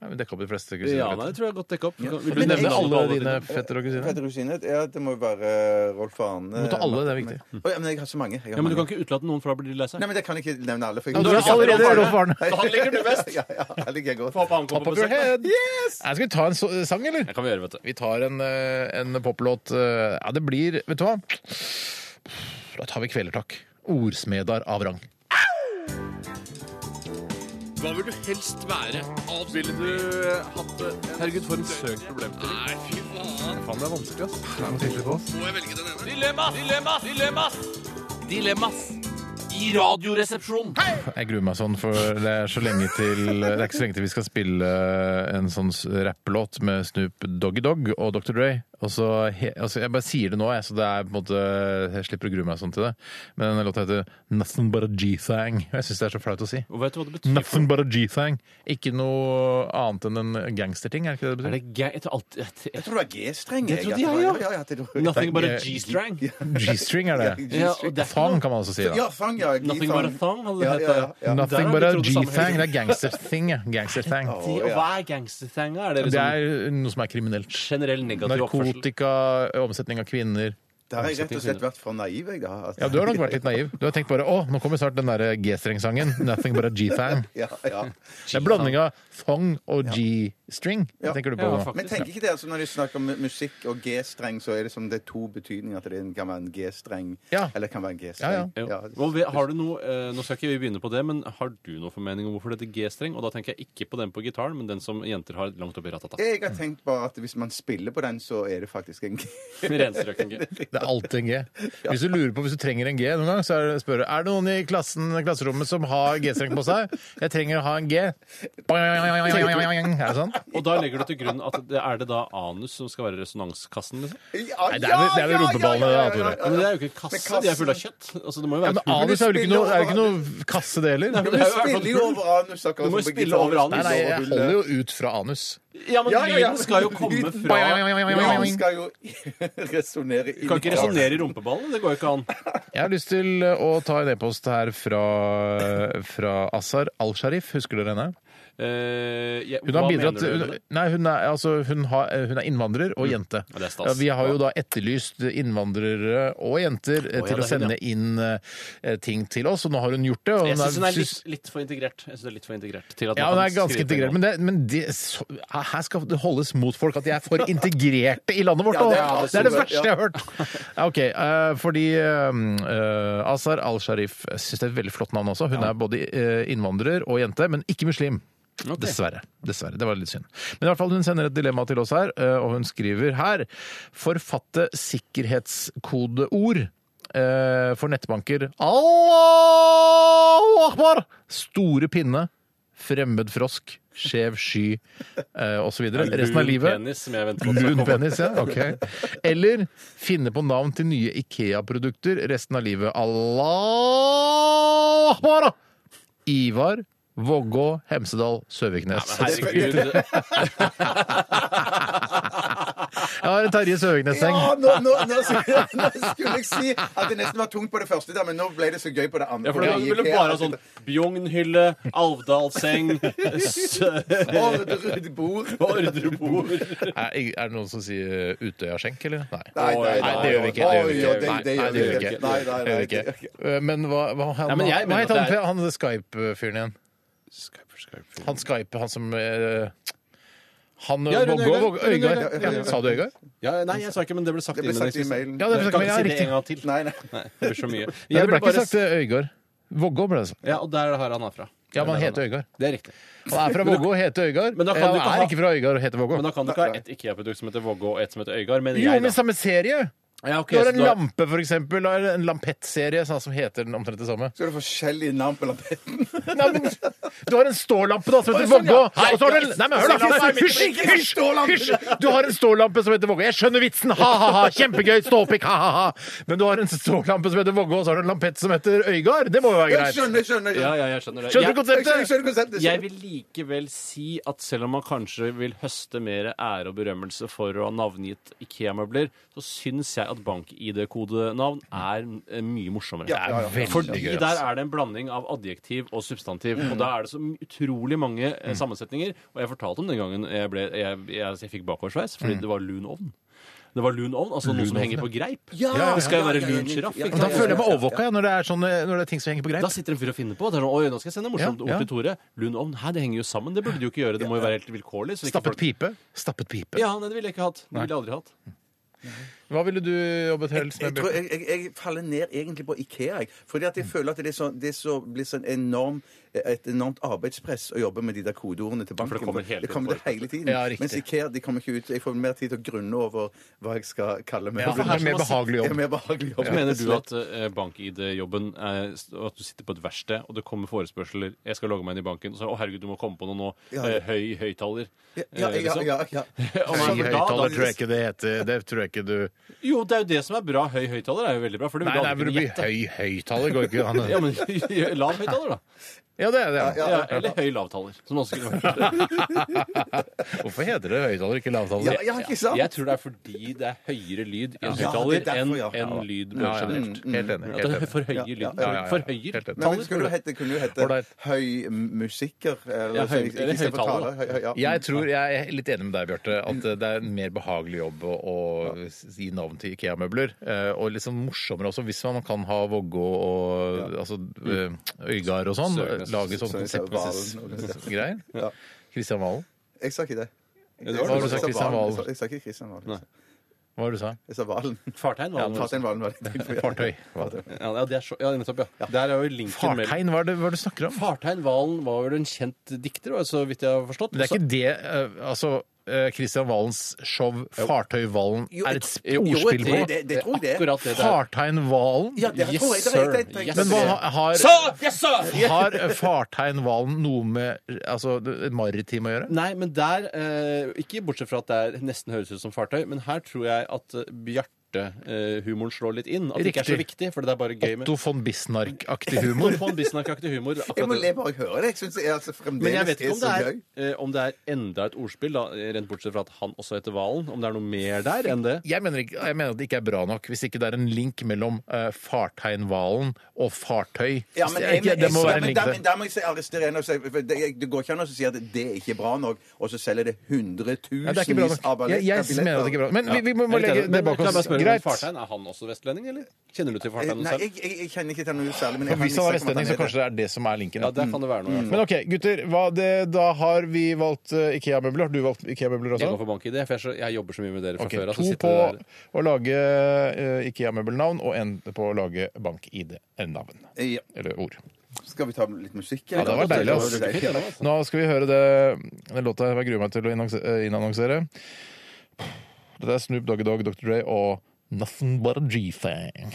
Nei, vi dekka opp de fleste kusiner. Ja, nei, det tror jeg er godt dekka opp. Vil du Vil du nevne nevne alle dine? dine fettere og kusiner? Petter Rosine, ja, det må jo være eh, Rolf Arne. Du må ta alle, det er viktig. Å, ja, men jeg har så mange. Jeg har Ja, men du kan mange. ikke utelate noen, for da blir de lei seg. Nei, men jeg kan ikke nevne alle. For jeg- Ja, du er allerede Rolf Arne. Da ligger du best. Ja, ja, her ligger jeg godt. Håper han kommer Top på of your besøk. head. Nei, skal vi ta en så sang, eller? Det kan vi gjøre, vet du. Vi tar en, eh, en poplåt. eh, Ja, det blir Vet du hva? Da tar vi Kvelertak. Ordsmedar av rang. Hva vil du helst være? Ville du eh, hatt det? Herregud, for en søk problemstilling. Nei, fy faen. Faen, det er vanskelig, ass. Må jeg velge den ene? Dilemmas! Dilemmas! Dilemmas! Dilemmas! I radioresepsjonen! Jeg gruer meg sånn, for det er så lenge til Det er ikke så lenge til vi skal spille en sånn s- rapplåt med Snoop Doggy Dogg og Dr. Dre. Og så, he, altså jeg bare sier det nå, jeg, så det er på en måte Jeg slipper å grue meg sånn til det. Men denne låta heter 'Nothing But A G-Thang'. Og jeg syns det er så flaut å si. Og vet du hva det betyr? Nothing but a G-thang. Ikke noe annet enn en gangsterting, er det ikke det det betyr? Er det gøy? Jeg tror alt... Jeg Jeg tror... tror det var G-streng. Det jeg, trodde at jeg, var- ja. ja, ja, det tror jeg. Nothing but a G-string. G-string er det. Ja, og det er ikke Thang noe... kan man også si. Ja, da. fang, ja. Nothing G-thang. but a thong, hadde det Ja, hett ja, det. ja, ja. Der Nothing har but vi a trodd det samme G-thang. hele Det er gangsterthing. ja. Gangsterthang. tiden. Og hva er gangsterthanga? Er det Det liksom er noe som er kriminelt. generell negativ oppførsel? Narkotika, omsetning av kvinner. Der har jeg rett og slett vært for naiv, jeg, da. At- Ja, Du har nok vært litt naiv. Du har tenkt bare å, nå kommer snart den der eh, G-streng-sangen. Nothing but a G-thang. Ja, ja. Det er blanding av thong og G. String, tenker du på nå? Men tenker ikke det, altså Når de snakker om musikk og G-streng, så er det som det er to betydninger at det kan være en G-streng eller kan være en G-streng. Jo. Og vi- har du noe, eh, nå skal ikke vi begynne på det, men har du noe formening om hvorfor dette G-streng? Og da tenker jeg ikke på den på gitaren, men den som jenter har langt oppi ratata. Jeg har tenkt bare at hvis man spiller på den, så er det faktisk en G. Renstrøken G. Det er alltid en G. Hvis du lurer på, hvis du trenger en G noen gang, så er det, spør du er det noen i klassen, klasserommet som har G-streng på seg. Jeg trenger å ha en G. Er det sånn? Og da legger du til grunn at det, er det da anus som skal være resonanskassen? Liksom? Nei, det er vel- det er vel rumpeballene, da, Tore. Men det er jo ikke en kasse, de er fulle av kjøtt. Altså, det må jo Ja, være men et hull. anus er vel ikke noe, er det ikke noe kasse, det heller? men Du det er jo i hvert fall spiller jo hull. over anus, Du akkurat må jo som på spille gitar. over anus. Nei, nei, jeg holder jo ut fra anus. Ja, men Ja, ja, ja. lyden skal jo komme fra Ja, man skal jo resonnere Du kan ikke resonnere i rumpeballene. Det går jo ikke an. Jeg har lyst til å ta en e-post her fra, fra Azar Al-Sharif. Husker dere henne? Eh, jeg- Hun har hva bidratt mener du hun, med det? Mm. Nei, hun er, altså, hun, har, hun er innvandrer og jente. Ja, det er stas. Ja, vi har jo da etterlyst innvandrere og jenter eh, til Å, ja, det er å sende hun, inn eh, ting til oss, og nå har hun gjort det. Og Jeg syns hun er synes- litt, litt for integrert. Jeg synes det er litt for integrert til at ja, hun man kan er ganske skrive på en integrert, måte. men, det, men det, så, her skal det holdes mot folk at de er for integrerte i landet vårt! Ja, det er og absolutt- det er det verste ja. jeg har hørt! Ja, OK, eh, fordi uh, Azar Al-Sharif syns det er et veldig flott navn også. Hun er både eh, innvandrer og jente, men ikke muslim. Dessverre. Dessverre. Det var litt synd. Men i hvert fall hun sender et dilemma til oss her, eh, og hun skriver her Forfatte sikkerhetskodeord eh, for nettbanker. Allahu akbar! Store pinne, fremmed frosk, skjev sky eh, osv. Resten av livet. Lun penis, som jeg venter på. at skal Lun komme. penis, ja. Ok. Eller finne på navn til nye Ikea-produkter resten av livet. Allah akbar! Ivar, Vågå, Hemsedal, Søviknes. Herregud. Jeg har en Terje Søviknes-seng. Ja, nå, nå, nå, skulle, nå skulle jeg si at det nesten var tungt på det første, der, men nå ble det så gøy på det andre. Ja, for det Fordi- ville bare ha sånn Bjognhylle, Alvdalseng, s- Ordrud bord. ordrebord Er er det noen som sier Utøya-skjenk, eller? Nei. Nei, nei, Nei, det gjør vi ikke. Det gjør vi Oi, ikke. oi, det- det Nei, gjør det gjør vi vi ikke. ikke. Nei, nei, Det gjør vi nei, det gjør vi ikke. Eh, Men hva, hva, han, Nei, men jeg hva mener at heter han, det er- han Skype-fyren igjen? Han Skype, han som eh, Han Ja, Rune Vågå? Øygard. Vågå- Rune Øygard. Øygard. Ja, Sa du Øygard? Ja, nei, jeg sa ikke, men det ble sagt Det ble inn sagt i Alexis. mailen. Ja, det ble sagt kan i ikke mailen, si ja, det en gang til. Nei, nei. Nei, det blir så mye. Nei, Jeg det ble vil ikke bare sagt eh, Øygard. Vågå ble det sagt. Ja, og der har han er fra. Ja, men han Der er heter Øygard. Det er riktig. Han er fra Vågå og heter Øygard. Men da kan Ja, du han ikke er ha- ikke fra Øygard og heter Vågå. Men da kan du ikke ha ett IKEA-produkt som heter Vågå, og ett som heter Øygard. Men Jo, men jeg, da. samme serie! Ja, ok, Du har så en lampe, for eksempel. Da er det en Lampett-serie sånn som heter den omtrent det samme. Så er det forskjellige navn på lampetten. Nei, men Du har en stålampe da, som heter Å, sånn, Vågå. ja. Og så har du en Nei, men hør, da! Stålampe Nei, er mitt- Hysj! Hysj! hysj. Du har en stålampe som heter Vågå. Jeg skjønner vitsen! Ha-ha-ha! Kjempegøy! Ståpikk! Ha-ha-ha! Men du har en stålampe som heter Vågå, og så har du en lampett som heter Øygard. Det må jo være Jeg greit. skjønner, skjønner. Ja, ja, jeg skjønner det. Skjønner du Jeg- Jeg skjønner, konseptet? skjønner konseptet. Jeg vil likevel si at selv om man kanskje vil høste mer ære og berømmelse for å ha navngitt IKEA-møbler, så syns jeg at bank-ID-kodenavn er eh, mye morsommere. Ja, ja, ja. Veldig Fordi gøy, ass. der er det en blanding av adjektiv og substantiv. Og da er det så utrolig mange eh, sammensetninger. Og jeg fortalte om den gangen jeg, ble, jeg, jeg, jeg fikk bakoversveis fordi det var lun ovn. Det var Mm. lun ovn, altså noe som henger på greip. Ja, Det skal jo være lun sjiraff. ikke Men Da sant? føler jeg meg overvåka jeg, når, det er sånne, når det er ting som henger på Da greip. sitter en fyr og finner på. Det er noe, Oi, nå skal jeg sende morsomt Ja, ord ja. til Tore. Lund ovn. Hæ, det henger jo sammen. Det burde du jo ikke gjøre. Det må jo være helt vilkårlig. så ikke Stappet folk- pipe. Stappet pipe. Ja, nei, det ville jeg ikke hatt. Det ville jeg aldri hatt. Hva ville du jobbet helst Jeg, med? tror, Bjørn? jeg, jeg, jeg faller ned egentlig på Ikea. Jeg. Fordi at jeg Mm. føler at det, er så, det er så blir sånn enorm, et enormt arbeidspress å jobbe med de der kodeordene til banken. det kommer hele det kommer tiden det hele tiden. Ja, riktig. Mens Ikea de kommer ikke ut. Jeg får mer tid til å grunne over hva jeg skal kalle meg. Ja, for det er en mer behagelig Det jobb. er mer behagelig jobb. Så mener du at eh, bank-ID-jobben er s- at du sitter på et verksted, og det kommer forespørsler 'Jeg skal logge meg inn i banken.' Og så 'Å, herregud, du må komme på noe nå.' Ja. Eh, høy høyttaler. Ja, Eh, ja, ja, liksom. ja, ja. Og man- Høy da- høyttaler da- tror jeg ikke det heter. Det tror jeg ikke du Jo, det er jo det som er bra. Høy høyttaler er jo veldig bra. For det Nei, vil du nei, aldri men det kunne blir gjette. høy høyttaler. Går ikke an. Ja, men Lav høyttaler, da. Ja, det er det. ja. Ja, eller høy lavtaler. Som også kunne vært Hvorfor heter det høyttaler, ikke lavtaler? Ja, ja, ikke sant? Jeg tror det er fordi det er høyere lyd i en Ja, høyttaler det er enn derfor, ja. en lyd Ja, ja, generelt. Helt enig. Helt At Mm, det er enig. for høye Ja, ja, lyd. ja, ja, ja. For Helt høye enig. Men hvis skulle taller. du hete, kunne du hete Ålreit. høy musiker? Eller, Ja, høy- ikke istedenfor høyttaler, taler, høy- høy- ja. Jeg tror jeg er litt enig med deg, Bjarte, at eh, det er en mer behagelig jobb å, å gi navn til Ikea-møbler. eh, Og litt sånn morsommere også, hvis man kan ha Vågå og altså, eh, Øygard og sånn. Søknes. Lage sånn Søknes, Valen. konseptmessig greier. Kristian Valen. Jeg sa ikke det. Hva har du sagt, Jeg sa Kristian Valen. Valen? Jeg sa ikke Kristian Valen. Hva var det du sa? Jeg sa Valen. Fartein, hva var Ja, det? Fartein Valen var det. Fartøy. Hva- Ja, ja, det er så, ja, nettopp, ja. Der er jo linken mellom Fartein, hva er det, hva er det du snakker om? Fartein Valen var vel en kjent dikter, og så vidt jeg har forstått. Men det er ikke det eh, Altså, eh, Kristian Valens show Fartøyvalen er et sp- Jo, jo, ordspill det- på? Det, det tror jeg det. Akkurat det der. Fartein Valen? Ja, det Yes, tror jeg. Det sir. er riktig. Jeg Yes, tenkte Men hva det. ha- har Sir! Yes, sir! Har Fartein Valen noe med altså, det maritime å gjøre? Nei, men der eh, Ikke bortsett fra at det er- nesten høres ut som fartøy, men her tror jeg at eh, Bjarte-humoren slår litt inn. At det ikke er så Riktig. viktig, for det er bare gøy med Otto von Bismarck-aktig humor? Otto von Bismarck-aktig humor. akkurat Jeg må det. le bare jeg hører det. Jeg syns altså, fremdeles Men jeg vet ikke om det er, gøy. eh, om det er enda et ordspill, da, rent bortsett fra at han også heter Valen. Om det er noe mer der enn det. Jeg mener, ikke, jeg mener at det ikke er bra nok hvis ikke det er en link mellom uh, Fartein-hvalen og fartøy. Ja, men Ikke- jeg- det må jeg- være en men link der- der. men Der må jeg si- arrestere en og si for det, det går ikke an å si at det ikke er bra nok, og så selger det Ja, det er ikke bra hundretusenvis nok. av ballett- Jeg, jeg mener at det ikke er bra. Men vi, vi må, må Jeg vet legge ikke, det men bak kan jeg bare oss. spørre om Greit. Fartein, er han også vestlending, eller? Kjenner du til Eh, Fartein? Nei, selv? jeg, jeg, jeg kjenner ikke til noe særlig, men jeg liksom For har Hvis han er mistanke om at vestlending, så er det. kanskje det er det som er linken. Ja, der kan det være noe. i hvert fall. Men OK, gutter. Hva det, da har vi valgt eh, IKEA-møbler. Har du valgt IKEA-møbler Jeg også? går for bank-ID, for jeg, så, jeg jobber så mye med dere fra Ok, før. at så to sitter på det der- å lage eh, IKEA-møbelnavn og en på å lage bank-ID-navn. Eh, Ja. Eller ord. Skal vi ta litt musikk? Ja, det var deilig, ass. Det var deilig. Nå skal vi høre det, den låta jeg gruer meg til å innonse- eh, innannonsere. Dette er Snoop Doggy Dogg, Dr. Dre og Nothing But A G-Thang.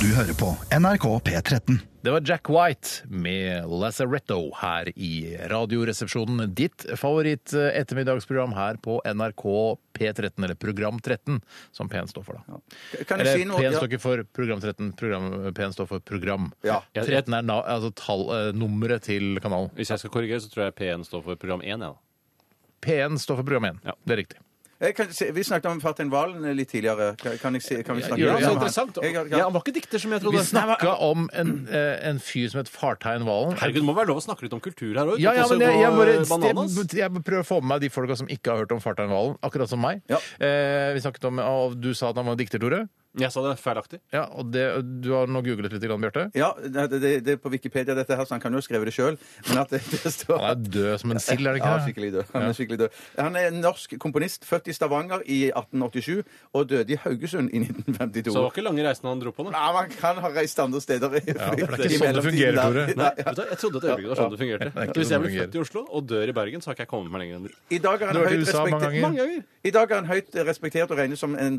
Du hører på NRK P13. Det var Jack White med Lazaretto her i Radioresepsjonen. Ditt favoritt-ettermiddagsprogram her på NRK P13, eller Program 13, som P1 står for, da. Kan jeg Eller si noe? P1 Ja. står ikke for Program 13, program, P1 står for Program. Ja. 13 er na, altså tall, eh, nummeret til kanalen. Hvis jeg skal korrigere, så tror jeg P1 står for program 1. Ja. da. P1 står for Program 1. Ja. Det er riktig. Jeg Eh, kan si, vi snakket om Fartein Valen eh, litt tidligere. Kan, kan, jeg si, kan vi snakke gjør det. Ja, litt så om han? interessant. Jeg- jeg- Ja, han var ikke dikter, som jeg trodde. Vi snakka om en, eh, en fyr som het Fartein Valen. Herregud, eh, det må være lov å snakke litt om kultur her òg. Ja, ja, men jeg, jeg, bare, jeg, jeg prøver å få med meg de folka som ikke har hørt om Fartein Valen, akkurat som meg. Ja. Eh, vi snakket om, og Du sa at han var dikter, Tore. Jeg sa det feilaktig. Ja, og det, Du har nå googlet litt, grann, Bjarte. Ja, det, det, det er på Wikipedia, dette her, så han kan jo ha skrevet det sjøl. Men at det, det står Han er død som en sild, er det Ja, ikke det? skikkelig død. Han er skikkelig død. Han er en norsk komponist, født i Stavanger i 1887 og døde i Haugesund i Så det 1952. var ikke lange reisen han dro på. Da. Nei, man kan ha reist andre steder. for i- det er ikke i sånn det mellomtiden fungerer, der. Tore. Nei, vet du, hva, jeg trodde et øyeblikk det var sånn det fungerte. er ikke Hvis sånn det jeg blir født i Oslo og dør i Bergen, så har ikke jeg kommet meg lenger enn dit. I dag er han Du har vært i høyt USA mange respektert- ganger. Mange ganger. I dag er han høyt respektert og regnes som en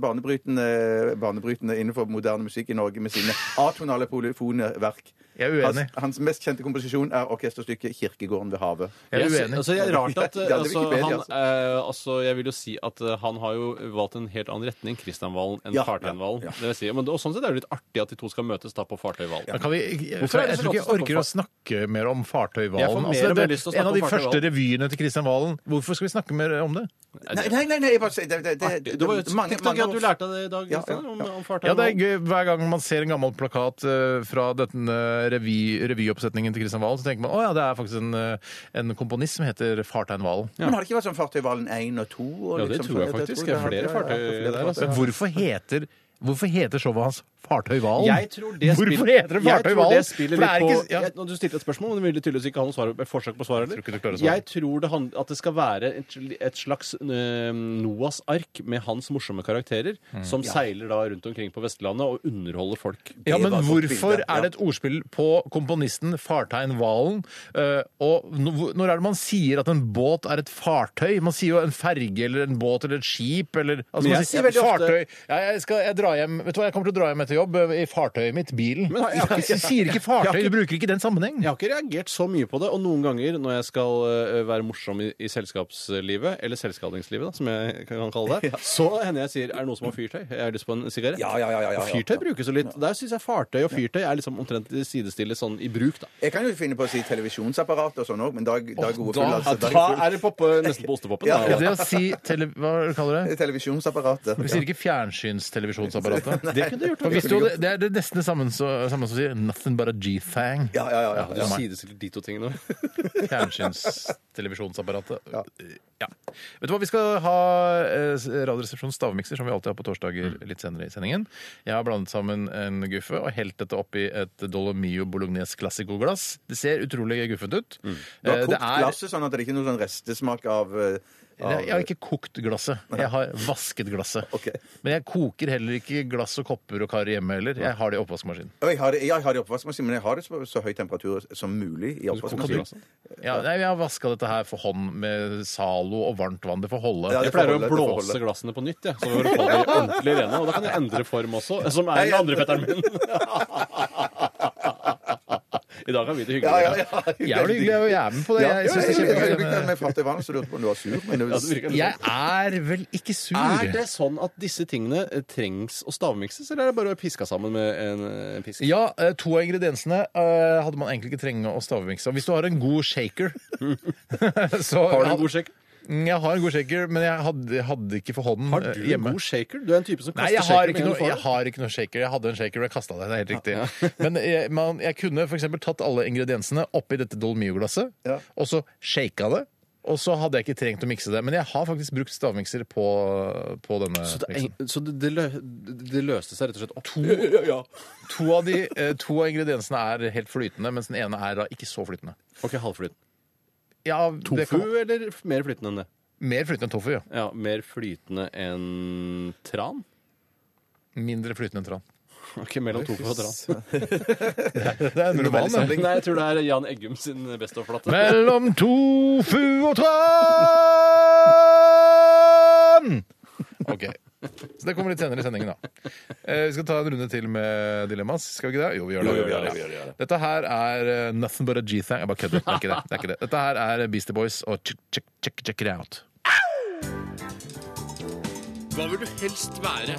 banebrytende, banebrytende innenfor moderne musikk i Norge med sine atonale polyfone verk. Jeg er uenig. Hans, hans mest kjente komposisjon er orkesterstykket 'Kirkegården ved havet'. Jeg er Jeg- uenig. Altså, jeg, er rart at, Ja, det er altså, Wikipedia, han, altså. eh, altså, jeg vil jo si at eh, han har jo valgt en helt annen retning, Kristian Valen, enn Ja, Fartein Valen. ja, ja. Det vil si. Men det, og sånn sett er det jo litt artig at de to skal møtes da på Fartøy Valen. Men Kan vi, jeg, jeg, Hvorfor er det så tror ikke jeg godt å snakke orker om å snakke mer om Jeg får Fartøyvalen. mer Altså, og mer det, lyst til å en snakke av de om første Fartøyvalen. revyene til Kristian Valen. Hvorfor skal vi snakke mer om det? Nei, nei, nei, nei jeg bare sier det, det, det, Eh, det, Det var jo mange, tenk deg mange at du år- lærte det i dag, Ja, Kristian, ja, om, om Fartein Ja, det er Valen. gøy. Hver gang man ser en gammel plakat eh, fra denne revy, revyoppsetningen til Kristian Valen, så tenker man å ja, det er faktisk en, eh, en komponist som heter Fartein Valen. Men har det ikke vært sånn Fartøyvalen 1 og 2? Og Ja, det liksom tror jeg sånn? faktisk. tror Det er flere har- fartøy ja, ja, flere der, altså. fartøy. Men hvorfor heter Hvorfor heter showet hans Fartøy Valen? Jeg tror det Hvorfor spill- heter det Fartøy Jeg tror Valen? det spiller For det litt er på ikke- ja. jeg, når Du stilte et spørsmål, men du ville tydeligvis ikke ha noe svar, forsøk på svar. heller. tror ikke du klarer å svare. Jeg tror det handler, at det skal være et, et slags eh, Noas ark med hans morsomme karakterer, Mm. som seiler da rundt omkring på Vestlandet og underholder folk. Ja, men var et godt hvorfor bilde, ja. er det et ordspill på komponisten Fartein Valen? Eh, og no- hvor- når er det man sier at en båt er et fartøy? Man sier jo en ferge eller en båt eller et skip eller altså, Men man jeg sier sier veldig ofte- fartøy. Ja, jeg, skal, jeg, drar hjem, vet du hva, jeg kommer til å dra hjem etter jobb eh, i fartøyet mitt, bilen. Men jeg har ikke- Du sier ikke fartøy, du bruker ikke den sammenheng. Jeg har ikke reagert så mye på det, og noen ganger når jeg skal eh, være morsom i, i selskapslivet, eller selskadingslivet, da, som jeg kan kalle det, så hender jeg sier er det noen som har fyrtøy? Jeg har lyst på en sigarett. Ja, ja, ja, ja, ja, Og Fyrtøy brukes jo litt. Der syns jeg fartøy og fyrtøy er liksom omtrent sidestille sånn i bruk, da. Jeg kan jo finne på å si televisjonsapparat og sånn òg, men da, da er gode da- full, altså. Da Da er er det poppe, nesten på ostepoppen. Ja, da. Det å si tele... Hva kaller du det? full- televisjonsapparatet. Vi sier ikke fjernsynstelevisjonsapparatet. Det kunne du gjort. For hvis du hadde, det er det nesten det samme, så, samme som sier 'nothing but a G-thang'. Ja, ja, ja. ja, Du ja. sidestiller de to tingene. Fjernsynstelevisjonsapparatet. Ja. Vet du hva, Vi skal ha eh, Radioresepsjonens stavmikser, som vi alltid har på Mm. torsdager litt senere i sendingen. Jeg har blandet sammen en guffe og helt dette oppi et Dolomio Bolognese Classico-glass. Det ser utrolig guffent ut. Mm. Du har Eh, kokt det er glasset sånn at det ikke er noe sånn restesmak av eh, Jeg har ikke kokt glasset. Jeg har vasket glasset. Men jeg koker heller ikke glass og kopper og kar hjemme heller. Jeg har det i oppvaskmaskinen. Og jeg har det, jeg har det i oppvaskmaskinen, men jeg har det så, så høy temperatur som mulig i oppvaskmaskinen. Ja, nei, jeg har vaska dette her for hånd med Zalo og varmt vann. Det får holde. Ja, det Jeg pleier å får holde, det får blåse holde. glassene på nytt, jeg. Så for å få de ordentlig rene. Og da kan jeg endre form også, som er den andre fetteren min. I dag har vi det hyggelig. Ja, ja, ja. Jeg er hyggelig, jeg er med på det. Ja, Jeg synes det er jeg- jeg- kjempegøy. jeg- jeg fattig vann, så lurte på om du var sur. Men Ja, det virker litt Jeg er vel ikke sur. Er det sånn at disse tingene eh, trengs å stavmikses, eller er det bare å piska sammen med en eh, pisk? Ja, eh, to av ingrediensene eh, hadde man egentlig ikke trenge å stavmikse. Hvis du har en god shaker så, Har du en god shaker? Mm, Jeg har en god shaker, men jeg hadde, jeg hadde ikke for hånden Har du eh, hjemme. en god shaker? Du er en type som Nei, kaster jeg har, shaker ikke med noe, en jeg har ikke noe shaker. Jeg hadde en shaker og jeg kasta den. Det er helt riktig. Men jeg, man, jeg kunne f.eks. tatt alle ingrediensene oppi dette Dolmio-glasset, Ja. og så shaka det. Og så hadde jeg ikke trengt å mikse det. Men jeg har faktisk brukt stavmikser på, på denne. Så, det, miksen. så det, det, lø, det løste seg rett og slett opp? To, av de, eh, to av ingrediensene er helt flytende, mens den ene er da ikke så flytende. Ok, halvflytende. Ja, det Tofu kan- eller f- mer flytende enn det? Mer flytende enn tofu, ja. Ja, Mer flytende enn tran? Mindre flytende enn tran. Ok, mellom tofu og tran. Det er en roman, det. Nei, jeg tror det er Jan Eggum sin Best of-plate. Mellom tofu og tran! OK. Så det kommer litt senere i sendingen, da. Eh, vi skal ta en runde til med dilemmas. Skal vi ikke det? Jo, vi gjør det. Jo, vi gjør det, vi gjør det, vi gjør Ja. Dette her er eh, nothing but a G-thang. Jeg bare kødder. Det er ikke det. det, er ikke det. Dette her er Beastie Boys og check, check, check, check it out. Hva vil du helst være?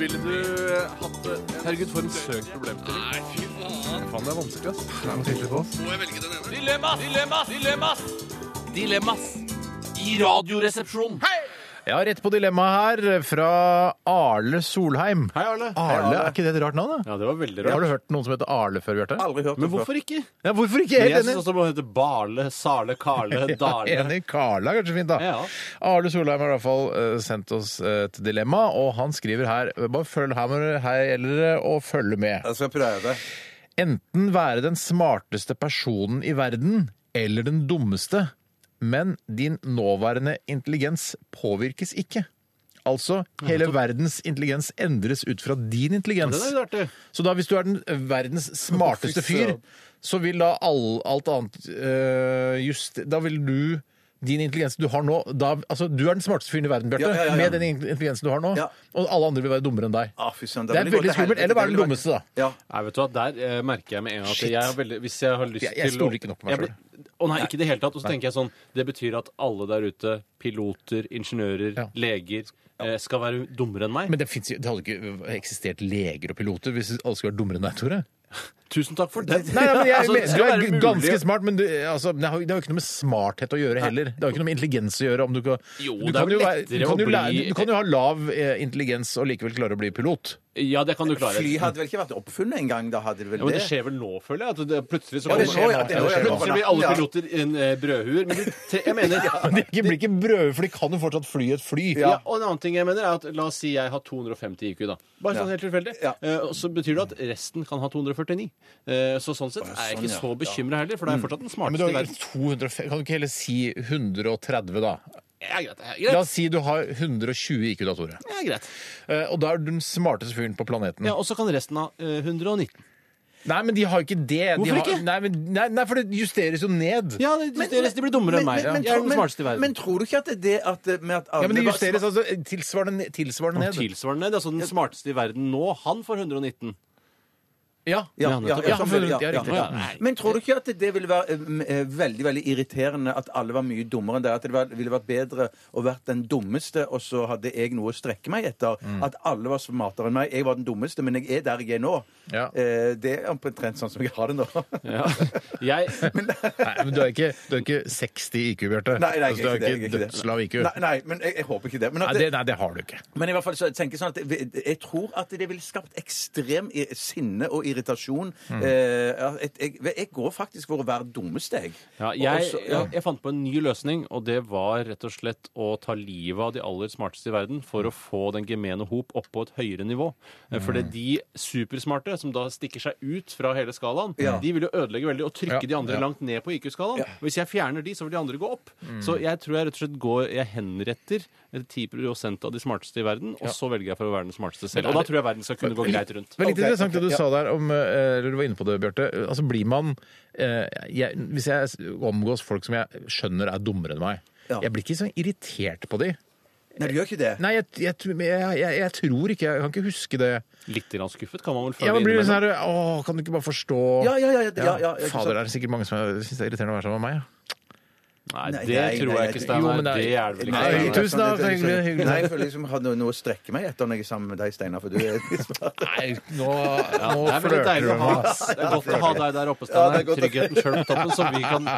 Ville du eh, hatt det? Herregud, for en søk problemstilling. Nei, fy faen. Faen, det er vanskelig, ass. Må jeg velge den ene? Dilemmas! Dilemmas! Dilemmas! Dilemmas! I radioresepsjonen. Hei! Jeg har rett på dilemmaet her fra Arle Solheim. Hei, Arle. Arle, Er ikke det et rart navn? da? Ah. Ja, det var veldig Har rart. du hørt noen som heter Arle før, Bjarte? Aldri hørt Men det før. hvorfor ikke? Ja, hvorfor ikke? Jeg Men er jeg Helt enig. synes også det må hete Barle, Sarle, Karle, Ja, Dale. enig. Karla er kanskje fint, da. Ja. Arle Solheim har i hvert fall eh, sendt oss et dilemma, og han skriver her Bare følg her, med- her gjelder det å følge med. Jeg skal prøve. Enten være den smarteste personen i verden, eller den dummeste, men din nåværende intelligens påvirkes ikke. Altså, hele verdens intelligens endres ut fra din intelligens. Det er litt artig. Så da hvis du er den eh, verdens smarteste fyr, så vil da all, alt annet øh, just Da vil du din intelligens du har nå da, altså, Du er den smarteste fyren i verden, Bjarte, Ja, ja, ja, ja. med den intelligensen du har nå. Ja. Og alle andre vil være dummere enn deg. Ah, fy søren, Det er ville gått veldig til skummelt. helvete. Eller være den Det ville vært- dummeste, da. Ja. Nei, vet du hva, Der eh, merker jeg med en gang at Shit. jeg har veldig, hvis jeg har lyst Jeg- jeg til stoler ikke nok på meg Jeg blir- Å nei, ikke i det hele tatt. Og så tenker jeg sånn Det betyr at alle der ute, piloter, ingeniører, Ja. leger, eh, skal være dummere enn meg. Men det, finnes, jo- det hadde ikke eksistert leger og piloter hvis alle skulle vært dummere enn deg, Tore. Tusen takk for den. Nei, nei, men jeg, Altså, det du skal er være mulig ganske å- smart, men du, altså, det, har, det har jo ikke noe med smarthet å gjøre heller. Det har jo ikke noe med intelligens å gjøre. Om du, kan- Jo, du det er kan jo være- lettere du kan å jo lære- bli- Du kan jo ha lav eh, intelligens og likevel klare å bli pilot. Ja, det kan du klare. Fly hadde vel ikke vært oppfunnet engang? Da hadde det vel Ja, men det det? skjer vel nå, føler jeg. At det, plutselig så Ja, det kommer- skjer nå, ja, det skjer nå. Plutselig blir alle piloter en, eh, brødhuer. Men du, tre- jeg mener Men de blir ikke brødhue, for de kan jo fortsatt fly et fly. Ja. og en annen ting jeg mener er at La oss si jeg har 250 IQ, da. Bare sånn Ja. helt tilfeldig. Ja. Eh, og så betyr det at resten kan ha 249. Eh, så sånn sett er jeg sånn, ikke ja. Mm. så bekymra heller, for da er jeg fortsatt den Men du smarteste i har verden. 200, kan du ikke heller si 130, da? Ja, greit, ja, La greit. oss si du har 120 IQ, da, Tore. Ja, greit. Eh, Og da er du den smarteste fyren på planeten. Ja, og så kan resten ha eh, 119. Nei, men de har jo ikke det. Hvorfor de har, ikke? Nei, men, nei, nei, for det justeres jo ned. Ja, de, de, de blir dummere enn meg. Men, men, jeg er den men, smarteste i men, verden. tror du ikke at det at, det- med at alle Ja, men de var justeres smart- altså tilsvarende, ned- tilsvarende Og ned. tilsvarende, det er altså den smarteste i verden nå. Han får 119. Ja. Ja, ja, ja, ja, nettopp. Ja, sånn for- vil- ja, ja, ja, riktig. ja. Nei. Men tror du ikke at det ville være eh, eh, veldig veldig irriterende at alle var mye dummere enn deg? At det var- ville vært bedre å være den dummeste, og så hadde jeg noe å strekke meg etter? Mm. At alle var smartere enn meg. Jeg var den dummeste, men jeg er der jeg er nå. Ja. Eh, Det er omtrent sånn som jeg har det nå. Ja. Jeg, Nei, men du er ikke, du er ikke 60 IQ, Bjarte. Nei, nei, jeg er Altså, du ikke er det, jeg er ikke ikke det. dødslav IQ. Nei, nei men jeg, jeg håper ikke det. Men, at Nei, det, nei, det har du ikke. Men i hvert fall så tenker jeg sånn at jeg, jeg tror at det ville skapt ekstrem i- sinne og irritasjon. Mm. Eh, ja, jeg, jeg, jeg går faktisk for å være dummest, jeg. Ja, jeg, Også- ja. jeg, jeg fant på en ny løsning, og det var rett og slett å ta livet av de aller smarteste i verden for å få den gemene hop opp på et høyere nivå. Eh, For det er de supersmarte som da stikker seg ut fra hele skalaen, Ja. de vil jo ødelegge veldig og trykke Ja, de andre ja. langt ned på IQ-skalaen. Hvis jeg fjerner de, så vil de andre gå opp. Så jeg tror jeg rett og slett går Jeg henretter 10 av de smarteste i verden, og så velger jeg for å være den smarteste selv. Og da tror jeg verden skal kunne gå greit rundt. Det var litt Ok, interessant ok, det du ja. sa der om eh, Eller du var inne på det, Bjarte. Altså blir man eh, jeg, Hvis jeg omgås folk som jeg skjønner er dummere enn meg, Ja. jeg blir ikke så irritert på de. Nei, du gjør ikke det? Nei, jeg, jeg, tr- men jeg, jeg, jeg tror ikke Jeg kan ikke huske det. Litt grann skuffet kan man vel Ja, føle men blir det innimellom. sånn her Å, kan du ikke bare forstå Ja, ja, ja, ja, ja, ja, ikke Fader, sant. det er sikkert mange som er- syns det er irriterende å være sammen med meg. Ja. Nei, Nei, det nei, tror nei, jeg nei, ikke, Steinar. jo, men det Det er- er det vel ikke. Nei, Steinar. tusen takk, det er hyggelig, hyggelig. Nei, jeg føler liksom jeg har noe- noe å strekke meg etter når jeg er sammen med deg, Steinar. For du er Nei, nå, Ja, nå det er veldig deilig å ha. med meg. Det er godt å ha deg der oppe, Steinar. Tryggheten sjøl på toppen, så vi kan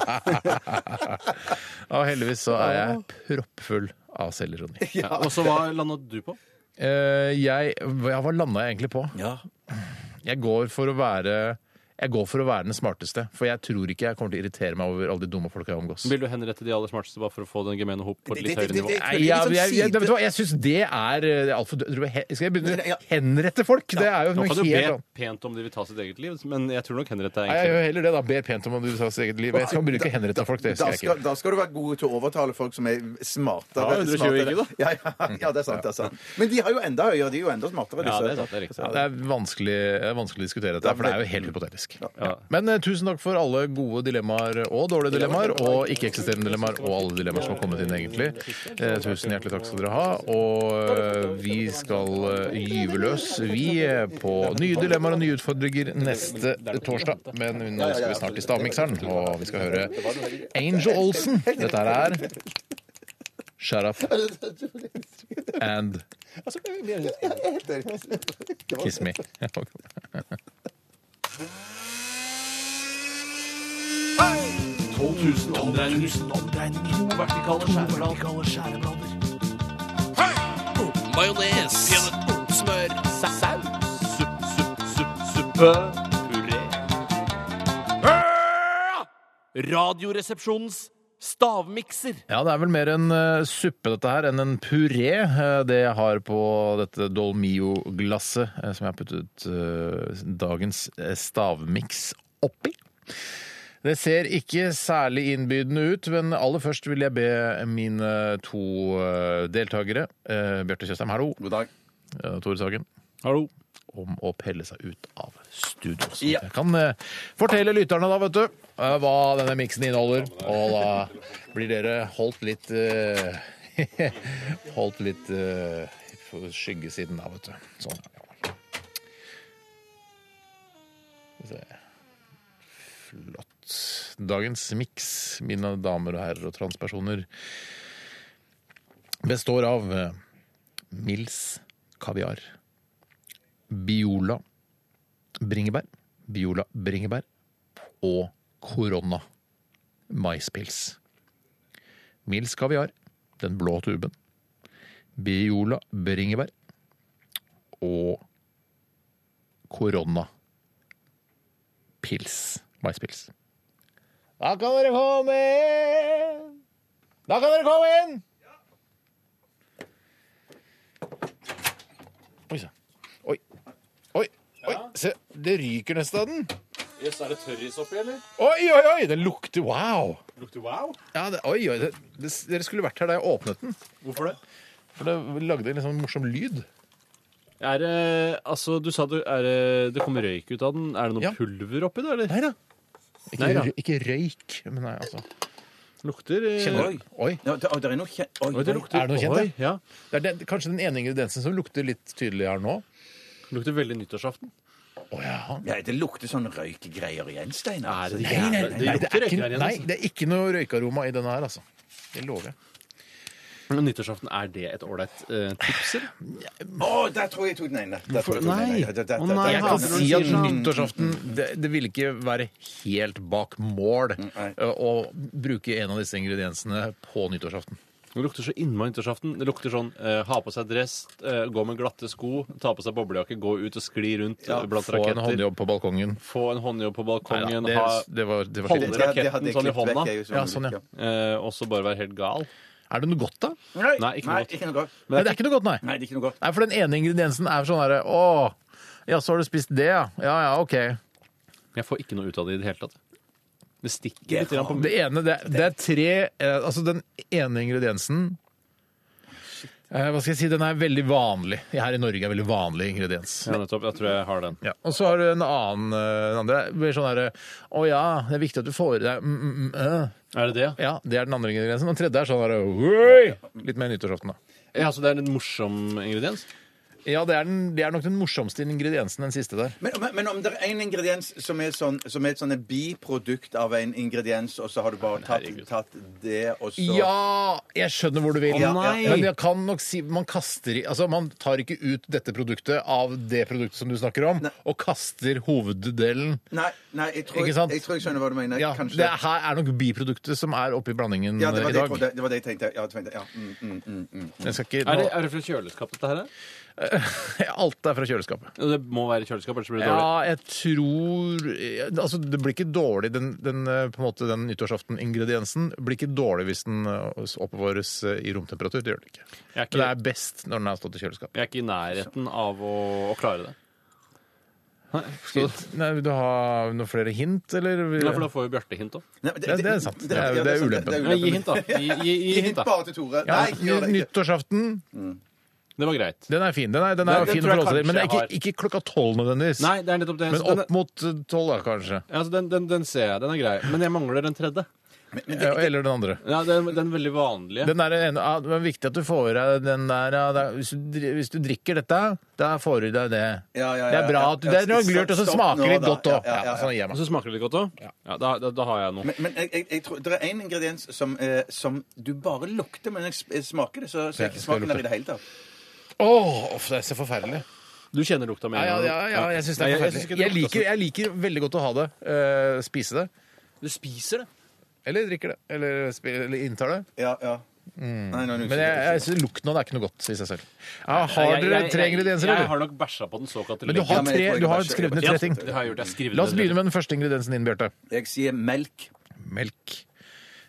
Og heldigvis så er jeg proppfull av selvironi. ja, Og så hva landet du på? Eh, jeg, ja, hva landa jeg egentlig på? Ja. Jeg går for å være jeg går for å være den smarteste, for jeg tror ikke jeg kommer til å irritere meg over alle de dumme folka jeg omgås. Vil du henrette de aller smarteste bare for å få den gemene hop på et litt sånn høyere Det- det- nivå? det- Nei, jeg, jeg, jeg, vet du hva, jeg syns det er eh, altfor dø- tror du he- Skal jeg begynne Ja. å henrette folk? Det er jo Nå noe kan du helt be annet. pent om de vil ta sitt eget liv, men jeg tror nok henrette Nei, er jeg egentlig gjør heller det, da. Ber pent om at du tar sitt eget liv. Jeg skal bruke henrette folk, det Da skal jeg ikke. skal, da skal du være god til å overtale folk som er smartere. Ja, 120 smartere. ikke, Ja, ja, ja, det er sant. det er sant. Men de har jo enda høyere. De er jo enda smartere, Ja, disse. det er sant, det er riktig. Ja, det er vanskelig, det er vanskelig å diskutere dette, for det er jo helt hypotetisk. Ja. Men eh, tusen takk for alle gode dilemmaer og dårlige dilemmaer, og ikke-eksisterende dilemmaer, og alle dilemmaer som har kommet inn, egentlig. Eh, tusen hjertelig takk skal dere ha. Og eh, vi skal eh, gyve løs, vi, eh, på nye dilemmaer og nye utfordringer neste torsdag. Men nå skal vi snart til stavmikseren, og vi skal høre Angel Olsen. Dette her er Shut up and kiss me. Radioresepsjonens stavmikser. Ja, det er vel mer en eh, suppe dette her enn en puré. eh, det jeg har på dette Dolmio-glasset eh, som jeg har puttet eh, dagens eh, stavmiks oppi. Det ser ikke særlig innbydende ut, men aller først vil jeg be mine to eh, deltakere, eh, Bjarte Tjøstheim, hallo, God dag. eh, Tore Sagen, Hallo. om å pelle seg ut av studio. Så jeg kan eh, fortelle lytterne da, vet du, eh, hva denne miksen inneholder. Og da blir dere holdt litt eh, Holdt litt eh, på skyggesiden da, vet du. Sånn. ja. Skal vi se. Flott. Dagens miks, mine damer og herrer og transpersoner, består av eh, Mils kaviar. Biola bringebær, Biola bringebær og Korona maispils. Mils kaviar, den blå tuben. Biola bringebær og Korona pils. Maispils. Da kan dere komme inn! Da kan dere komme inn! Oi sann. Oi. Oi. Oi. Se, det ryker nesten av den. Jøss, er det tørris oppi, eller? Oi, oi, oi! Den lukter wow. Lukter wow. Ja, det, oi, oi. Det, det, dere skulle vært her da jeg åpnet den. Hvorfor det? For det lagde en litt sånn morsom lyd. Er det Altså, du sa det, er det, det kommer røyk ut av den. Er det noe Ja. pulver oppi det, eller? Nei da. Ikke, Nei da. røy- ikke røyk, men nei, altså. Lukter eh, Kjenner Oi. du? Oi. Ja, det, å, det er noe kjent Oi, Oi, det oi. lukter Er det noe kjent, Oi, Ja. Det er den, kanskje den ene ingrediensen som lukter litt tydelig her nå. Lukter veldig nyttårsaften. Å ja. Nei, det lukter sånn røykgreier igjen, Steinar. Er det Altså, det? Nei, det Nei, det lukter er ikke, røykgreier igjen. nei, altså. det er ikke noe røykaroma i denne her, altså. Det lover jeg. Men nyttårsaften, er det et ålreit eh, tips, eller? Å, der tror jeg jeg tok den ene. Der tror jeg jeg tok den Nei. ene. Der- der- Å, nei, der- Jeg Ja, kan for når der- du si at sier sånn- nyttårsaften det, det vil ikke være helt bak mål nei. ø, å bruke en av disse ingrediensene på nyttårsaften. Det lukter så innmari nyttårsaften. Det lukter sånn eh, ha på seg dress, eh, gå med glatte sko, ta på seg boblejakke, gå ut og skli rundt eh, blant Få en raketter. håndjobb på balkongen. Få en håndjobb på balkongen, Neida, det- ha- det var- det var holde slitsomt. Det- det raketten hadde jeg sånn i klippet hånda, vekk, jeg, hvis jeg Ja, sånn, ja. eh, og så bare være helt gal. Er det noe godt, da? Nei, Nei, ikke noe nei, godt. ikke noe godt. Nei, det er ikke noe godt, nei. Nei, det er ikke noe godt. Nei, for den ene ingrediensen er sånn herre Å, ja, så har du spist det, ja. Ja ja, OK. Jeg får ikke noe ut av det i det hele tatt. Det stikker litt grann på Det ene, det, er- det er tre eh, Altså, den ene ingrediensen eh, Hva skal jeg si? Den er veldig vanlig. Her i Norge er veldig vanlig ingrediens. Ja, nettopp. Jeg tror jeg har den. Ja. Og så har du en annen eh, den andre. Mer sånn herre Å ja, det er viktig at du får i deg mm, mm, mm, øh. Er det det? ja? Ja, det er den andre ingrediensen. Den tredje er sånn herre «Oi!» Litt mer nyttårsaften, da. Ja, så det er en morsom ingrediens? Ja, det er, den, det er nok den morsomste ingrediensen, den siste der. Men, men, men om det er en ingrediens som er, sånn, som er et sånn biprodukt av en ingrediens, og så har du bare tatt, herregud. tatt det, og så Ja! Jeg skjønner hvor du vil. Å, nei! Men jeg kan nok si man kaster i Altså, man tar ikke ut dette produktet av det produktet som du snakker om, og kaster hoveddelen. Nei, nei jeg, tror, Ikke sant? jeg tror jeg skjønner hva du mener. Ja, Kanskje- det her er nok biproduktet som er oppi blandingen ja, det eh, var i det, jeg dag. trodde, det var det jeg tenkte. Ja, jeg tenkte ja. Mm, mm, mm, mm. Jeg skal ikke, Er det, nå, er det fra kjøleskap, dette her? alt er fra kjøleskapet. Det må være kjøleskap, ellers blir det dårlig. Ja, jeg tror eh, Altså, det blir ikke dårlig, den, den, eh, på en måte, den nyttårsaften-ingrediensen blir ikke dårlig hvis den eh, oppbevares eh, i romtemperatur. Det gjør den ikke. Jeg er Men det ikke, er best når den har stått i kjøleskap. jeg er ikke i nærheten av å, å klare det. Nei, vil du ha noen flere hint, eller? Nei, for da får jo Bjarte hint òg. Nei, men Ja, det er sant. Det er- ja, det er sant, ulempen. det er Gi hint, da. Gi, gi, gi Gi hint, hint da. bare til Tore. Ja, Nei, gjør det ikke. nyttårsaften, Det var greit. den er fin. Den er, den Nei, er det fin tror jeg for alle, kanskje men det er jeg har. ikke, ikke klokka tolv nødvendigvis. Nei, det er nettopp det. Men Så den, opp mot eh, tolv, da, kanskje. altså, den, den, den ser jeg. Den er grei. Men jeg mangler den tredje. Ja, Eh, Eller den andre. Ja, den, den veldig vanlige. Den er en, ja, det er viktig at du får i deg den der ja, det er- hvis, du, dri- hvis du drikker dette, da får du i deg det. Ja, ja, ja, Det er bra ja. at du, det er noe lurt, og så Stopp smaker nå, det litt da. godt sånn òg. Ja, ja, ja, ja. Og så smaker det litt godt òg? Ja, da, da, da har jeg noe. Men, men jeg, jeg, jeg tror, det er én ingrediens som, eh, som du bare lukter, men jeg s- jeg smaker det, så, så Ja, jeg ikke skal jeg smaker det lukte? i det hele tatt. Åh, uff, det er så forferdelig. Du kjenner lukta med Ja, en ja, ja, gang. ja, jeg syns det er Nei, jeg- jeg synes forferdelig. ikke det Jeg lukter liker, jeg liker veldig godt å ha det. eh, spise det. sånn. Du spiser det. Eller drikker det. Eller, spi- eller inntar det. Ja, ja. Nei, nå er det Mm. Men jeg, jeg usikker. synes lukten av det er ikke noe godt i seg selv. Ja, har Jeg- dere jeg- tre jeg- ingredienser, Jeg har eller? nok bæsja på den såkalte Men du Ja, har, men jeg tre, tror jeg du har bare- skrevet ned Ja, tre ting. Det har jeg gjort. Jeg har skrevet La oss ned begynne med den første ingrediensen din, Bjarte. Jeg sier melk. Melk.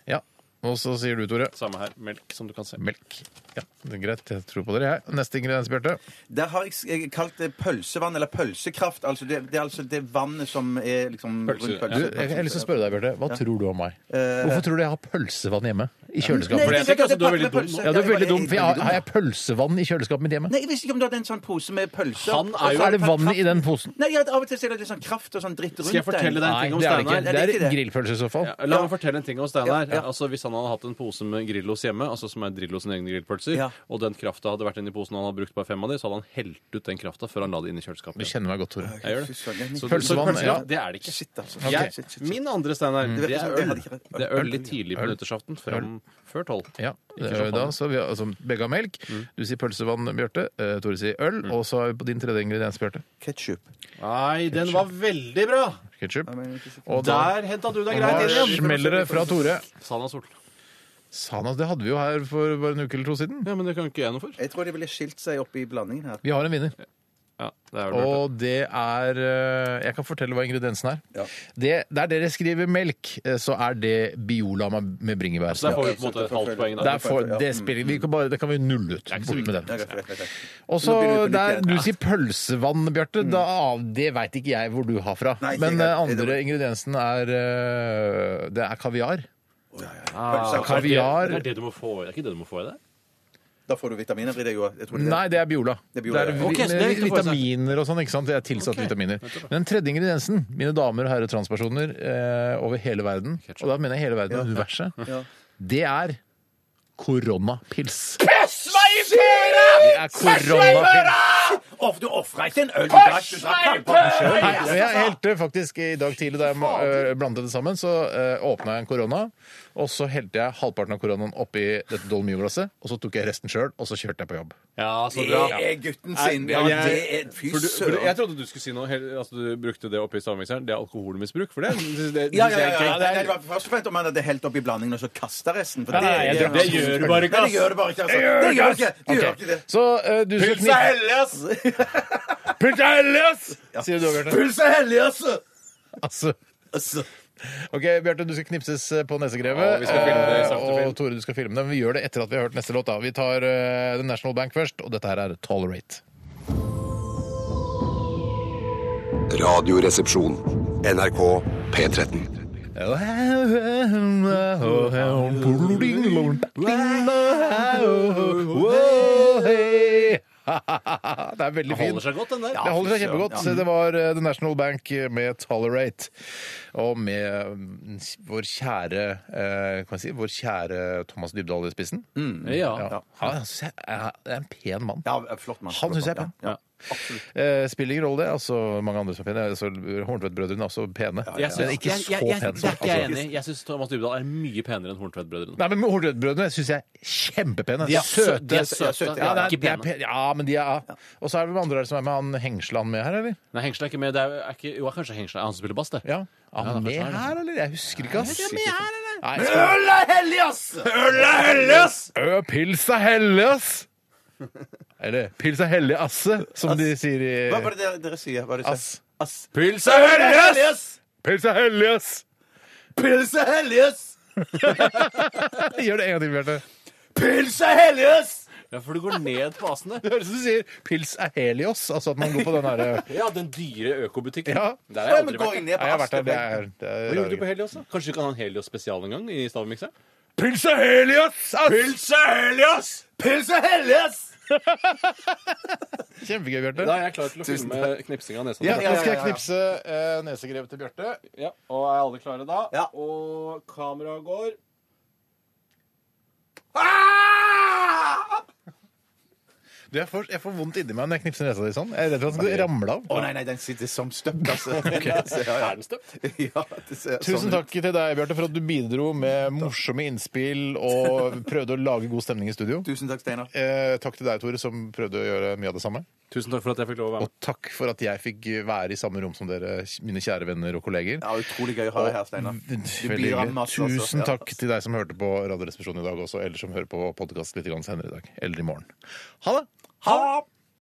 Ja. Og så sier du, Tore. Samme her. Melk, som du kan se. Melk. Ja, det er greit. Jeg tror på dere, jeg. Neste ingrediens, Bjarte. Der har jeg s- jeg kalt det pølsevann, eller pølsekraft. Altså det, det er altså det vannet som er liksom Pølse, rundt Du, jeg jeg har lyst til å spørre deg, Bjarte. Hva tror du om meg? Eh, Hvorfor tror du jeg har pølsevann hjemme? I Fordi kjøleskapet? jeg tenker også du er veldig dum. Ja, du er veldig dum, for jeg har, har jeg pølsevann i kjøleskapet mitt hjemme? Altså, Nei, jeg visste ikke om du hadde en sånn pose med pølser. Han er Og så jo- Er det vann i kraften. den posen? Nei, jeg, av og til så er det litt sånn kraft og sånn dritt rundt Skal jeg fortelle deg en Nei, ting om det er det ikke. Steinar? Nei, det er Det ikke er grillpølse i så fall. Ja, la meg fortelle en ting om Steinar. Ja, ja. Altså, hvis han hadde hatt en pose med Grillos hjemme, altså som er Drillos sine egne grillpølser, Ja. og den krafta hadde vært inni posen, og han hadde brukt bare fem av de, så hadde han helt ut den krafta før han la det inn i Du kjøleskapet. kjenner meg godt, Tore. Jeg gjør det. Fy søren, jeg- Så, Pølsevann, så pølsekraft, ja. det er det ikke. Shit, altså. Ok. Shit, shit, shit. Min andre, Steinar, det virker er som- jeg hadde øl. ikke- Det er øl litt tidlig på Øl. nyttårsaften, fram før tolv. Ja, Ikke eh, champagne. da, så vi, har- altså, Begge har melk. Du sier pølsevann, Bjarte. Eh, Tore sier øl. Og så har vi på din tredje ingrediens, Bjarte. Ketchup. Nei, den var veldig bra! Ketsjup. Og da Der henta du deg da greit inn igjen. smeller det fra Tore. Sanna Sol. Sana, det hadde vi jo her for bare en uke eller to siden. Ja, men det kan ikke jeg noe for. Jeg tror de ville skilt seg opp i blandingen her. Vi har en vinner. Ja, det er vel verdt det. Og det er eh, Jeg kan fortelle hva ingrediensen er. Ja. Det, der dere skriver melk, eh, så er det Biola med med bringebær. Så der får vi på en måte et halvt poeng. da. Der får, det, spiller, vi kan bare, det kan vi nulle ut. ikke så Bort med viktig. den. Ja, greit, greit, greit. Og så Nå begynner vi på nytt der igjen. du Ja. sier pølsevann, Bjarte, da, ah, det veit ikke jeg hvor du har fra. Nei, ikke Men jeg. eh, andre ingrediensen er eh, Det er kaviar. Ah, Pølse- altså. kan- kaviar. Det er det du må få i deg. Ikke det du må få i deg. Da får du vitaminer i det, jo. Jeg tror det er- Nei, det er Biola. Det er Biola, ja. vi- Ok, så det er med viktig å få i seg. vitaminer og sånn. ikke sant? Det er tilsatt vitaminer. Men den tredje ingrediensen, mine damer og herrer transpersoner eh, over hele verden, og da mener jeg hele verden og universet, Ja. det er koronapils. Svei Det er koronapils. Of, du ofra ikke en øl, du drakk du drakk halvparten sjøl. Nei, men jeg helte faktisk i dag tidlig da jeg ma- øh, blandet det sammen, så øh, åpna jeg en korona, og så helte jeg halvparten av koronaen oppi dette Dolmio-glasset, og så tok jeg resten sjøl, og så kjørte jeg på jobb. Ja, så bra. Det er gutten sin. Ja, Nei, det jeg- er Fy for du, for du, jeg søren. trodde du skulle si noe helt, altså, Du brukte det oppi stavmikseren. Det er alkoholmisbruk, for det det- det- Ja, det synes jeg ja, ja, ikke ja. er- Nei, det var først og fremst om han hadde helt oppi blandingen og så kasta resten. For Nei, jeg tror- det gjør du bare ikke, Nei, ass. Det gjør du bare ikke, altså. Det gjør du ikke. Du gjør ikke det. Så øh, du skal knipe Elias! Pult er hellig, ass! Sier du, Bjarte. Puls er hellig, altså! Altså. Altså. Ok, Bjarte, du skal knipses eh, på nesegrevet. Ja, vi skal filme det i sakte eh, film. og Tore, du skal filme det. Men vi gjør det etter at vi har hørt neste låt. da. Vi tar eh, The National Bank først, og dette her er Tolerate. Radioresepsjon. NRK P13. Det er veldig Holder fint. seg godt, den der. Det holder seg kjempegodt. Så Det var eh, The National Bank med Tolerate. Og med mm, vår kjære eh, kan jeg si, vår kjære Thomas Dybdahl i spissen. Ja. Ja. Han synes jeg er det er en pen mann. Ja, flott mann. Han Flott syns jeg er mann, pen. Eh, Spiller ingen rolle, det. Altså, mange andre som er pene. Altså, Horntvedt-brødrene er også pene. Jeg synes, Men ikke jeg, så jeg, pen jeg, det er som ikke jeg altså. enig i. Jeg syns Thomas Dybdahl er mye penere enn Horntvedt-brødrene. Nei, men Horntvedt-brødrene syns jeg er kjempepene. De er sø- søte. de er søte. Ja, det er- Ikke de er pene. pene. Ja, men de er Og så er det hvem andre er det som er med? Han Hengsle, han med her, eller? Nei, Hengsle er ikke med. Det er, er ikke, jo, er kanskje Hengsle er han som spiller bass, det. Ja. Er Ja, han det med er kanskje han, her, eller? Jeg husker ikke, ass. Nei, Øl er hellig, ass! Øl er hellig, ass! Ø, pils er hellig, ass! Eller pils er hellig asse, som de sier i Hva var det dere, dere sier? Hva var det dere sier? Ass. Ass. Pils er hellig, ass! Pils er hellig, ass! Pils er hellig, ass! Gjør det en gang til, Bjarte. Pils er hellig, ass! Ja, for du går ned på asene. Det høres ut som du sier pils er helios, altså at man går på den herre Ja, den dyre økobutikken. Ja. Der Å, har ja, jeg men aldri går vært. jeg Nei, ned jeg på har vært der. Det Asterberg? er, det er Hva gjorde du på rare- Helios, da? Kanskje du kan ha en Helios-spesial en gang i stavmikseren? Pils er helios! ass! er hellig, ass! Pils er hellig, ass! Kjempegøy, Da Bjarte. er jeg klar til å filme knipsing av nesa. Ja, ja, nå skal jeg ja, ja. knipse eh, nesegrevet til Bjarte. Ja, og er alle klare da? Ja. Og kameraet går. Ah! Du, jeg får, jeg får vondt inni meg når jeg knipser nesa di sånn. Jeg er redd for at den skal ramle av. Å nei, nei, den sitter som støpt, altså. Er den støpt? Ja, det ser Tusen sånn ut. takk til deg, Bjarte, for at du bidro med morsomme innspill og prøvde å lage god stemning i studio. Tusen takk, Steinar. Eh, takk til deg, Tore, som prøvde å gjøre mye av det samme. Tusen takk for at jeg fikk lov å være Og med. takk for at jeg fikk være i samme rom som dere, mine kjære venner og kolleger. Ja, utrolig gøy å ha deg her, Steinar. Mm, Veldig blir hyggelig. rammet, altså. Tusen Ja. takk til deg som hørte på Radioresepsjonen i dag også, eller som hører på podkast litt grann senere i dag. Eller i morgen. Ha det! Ha det!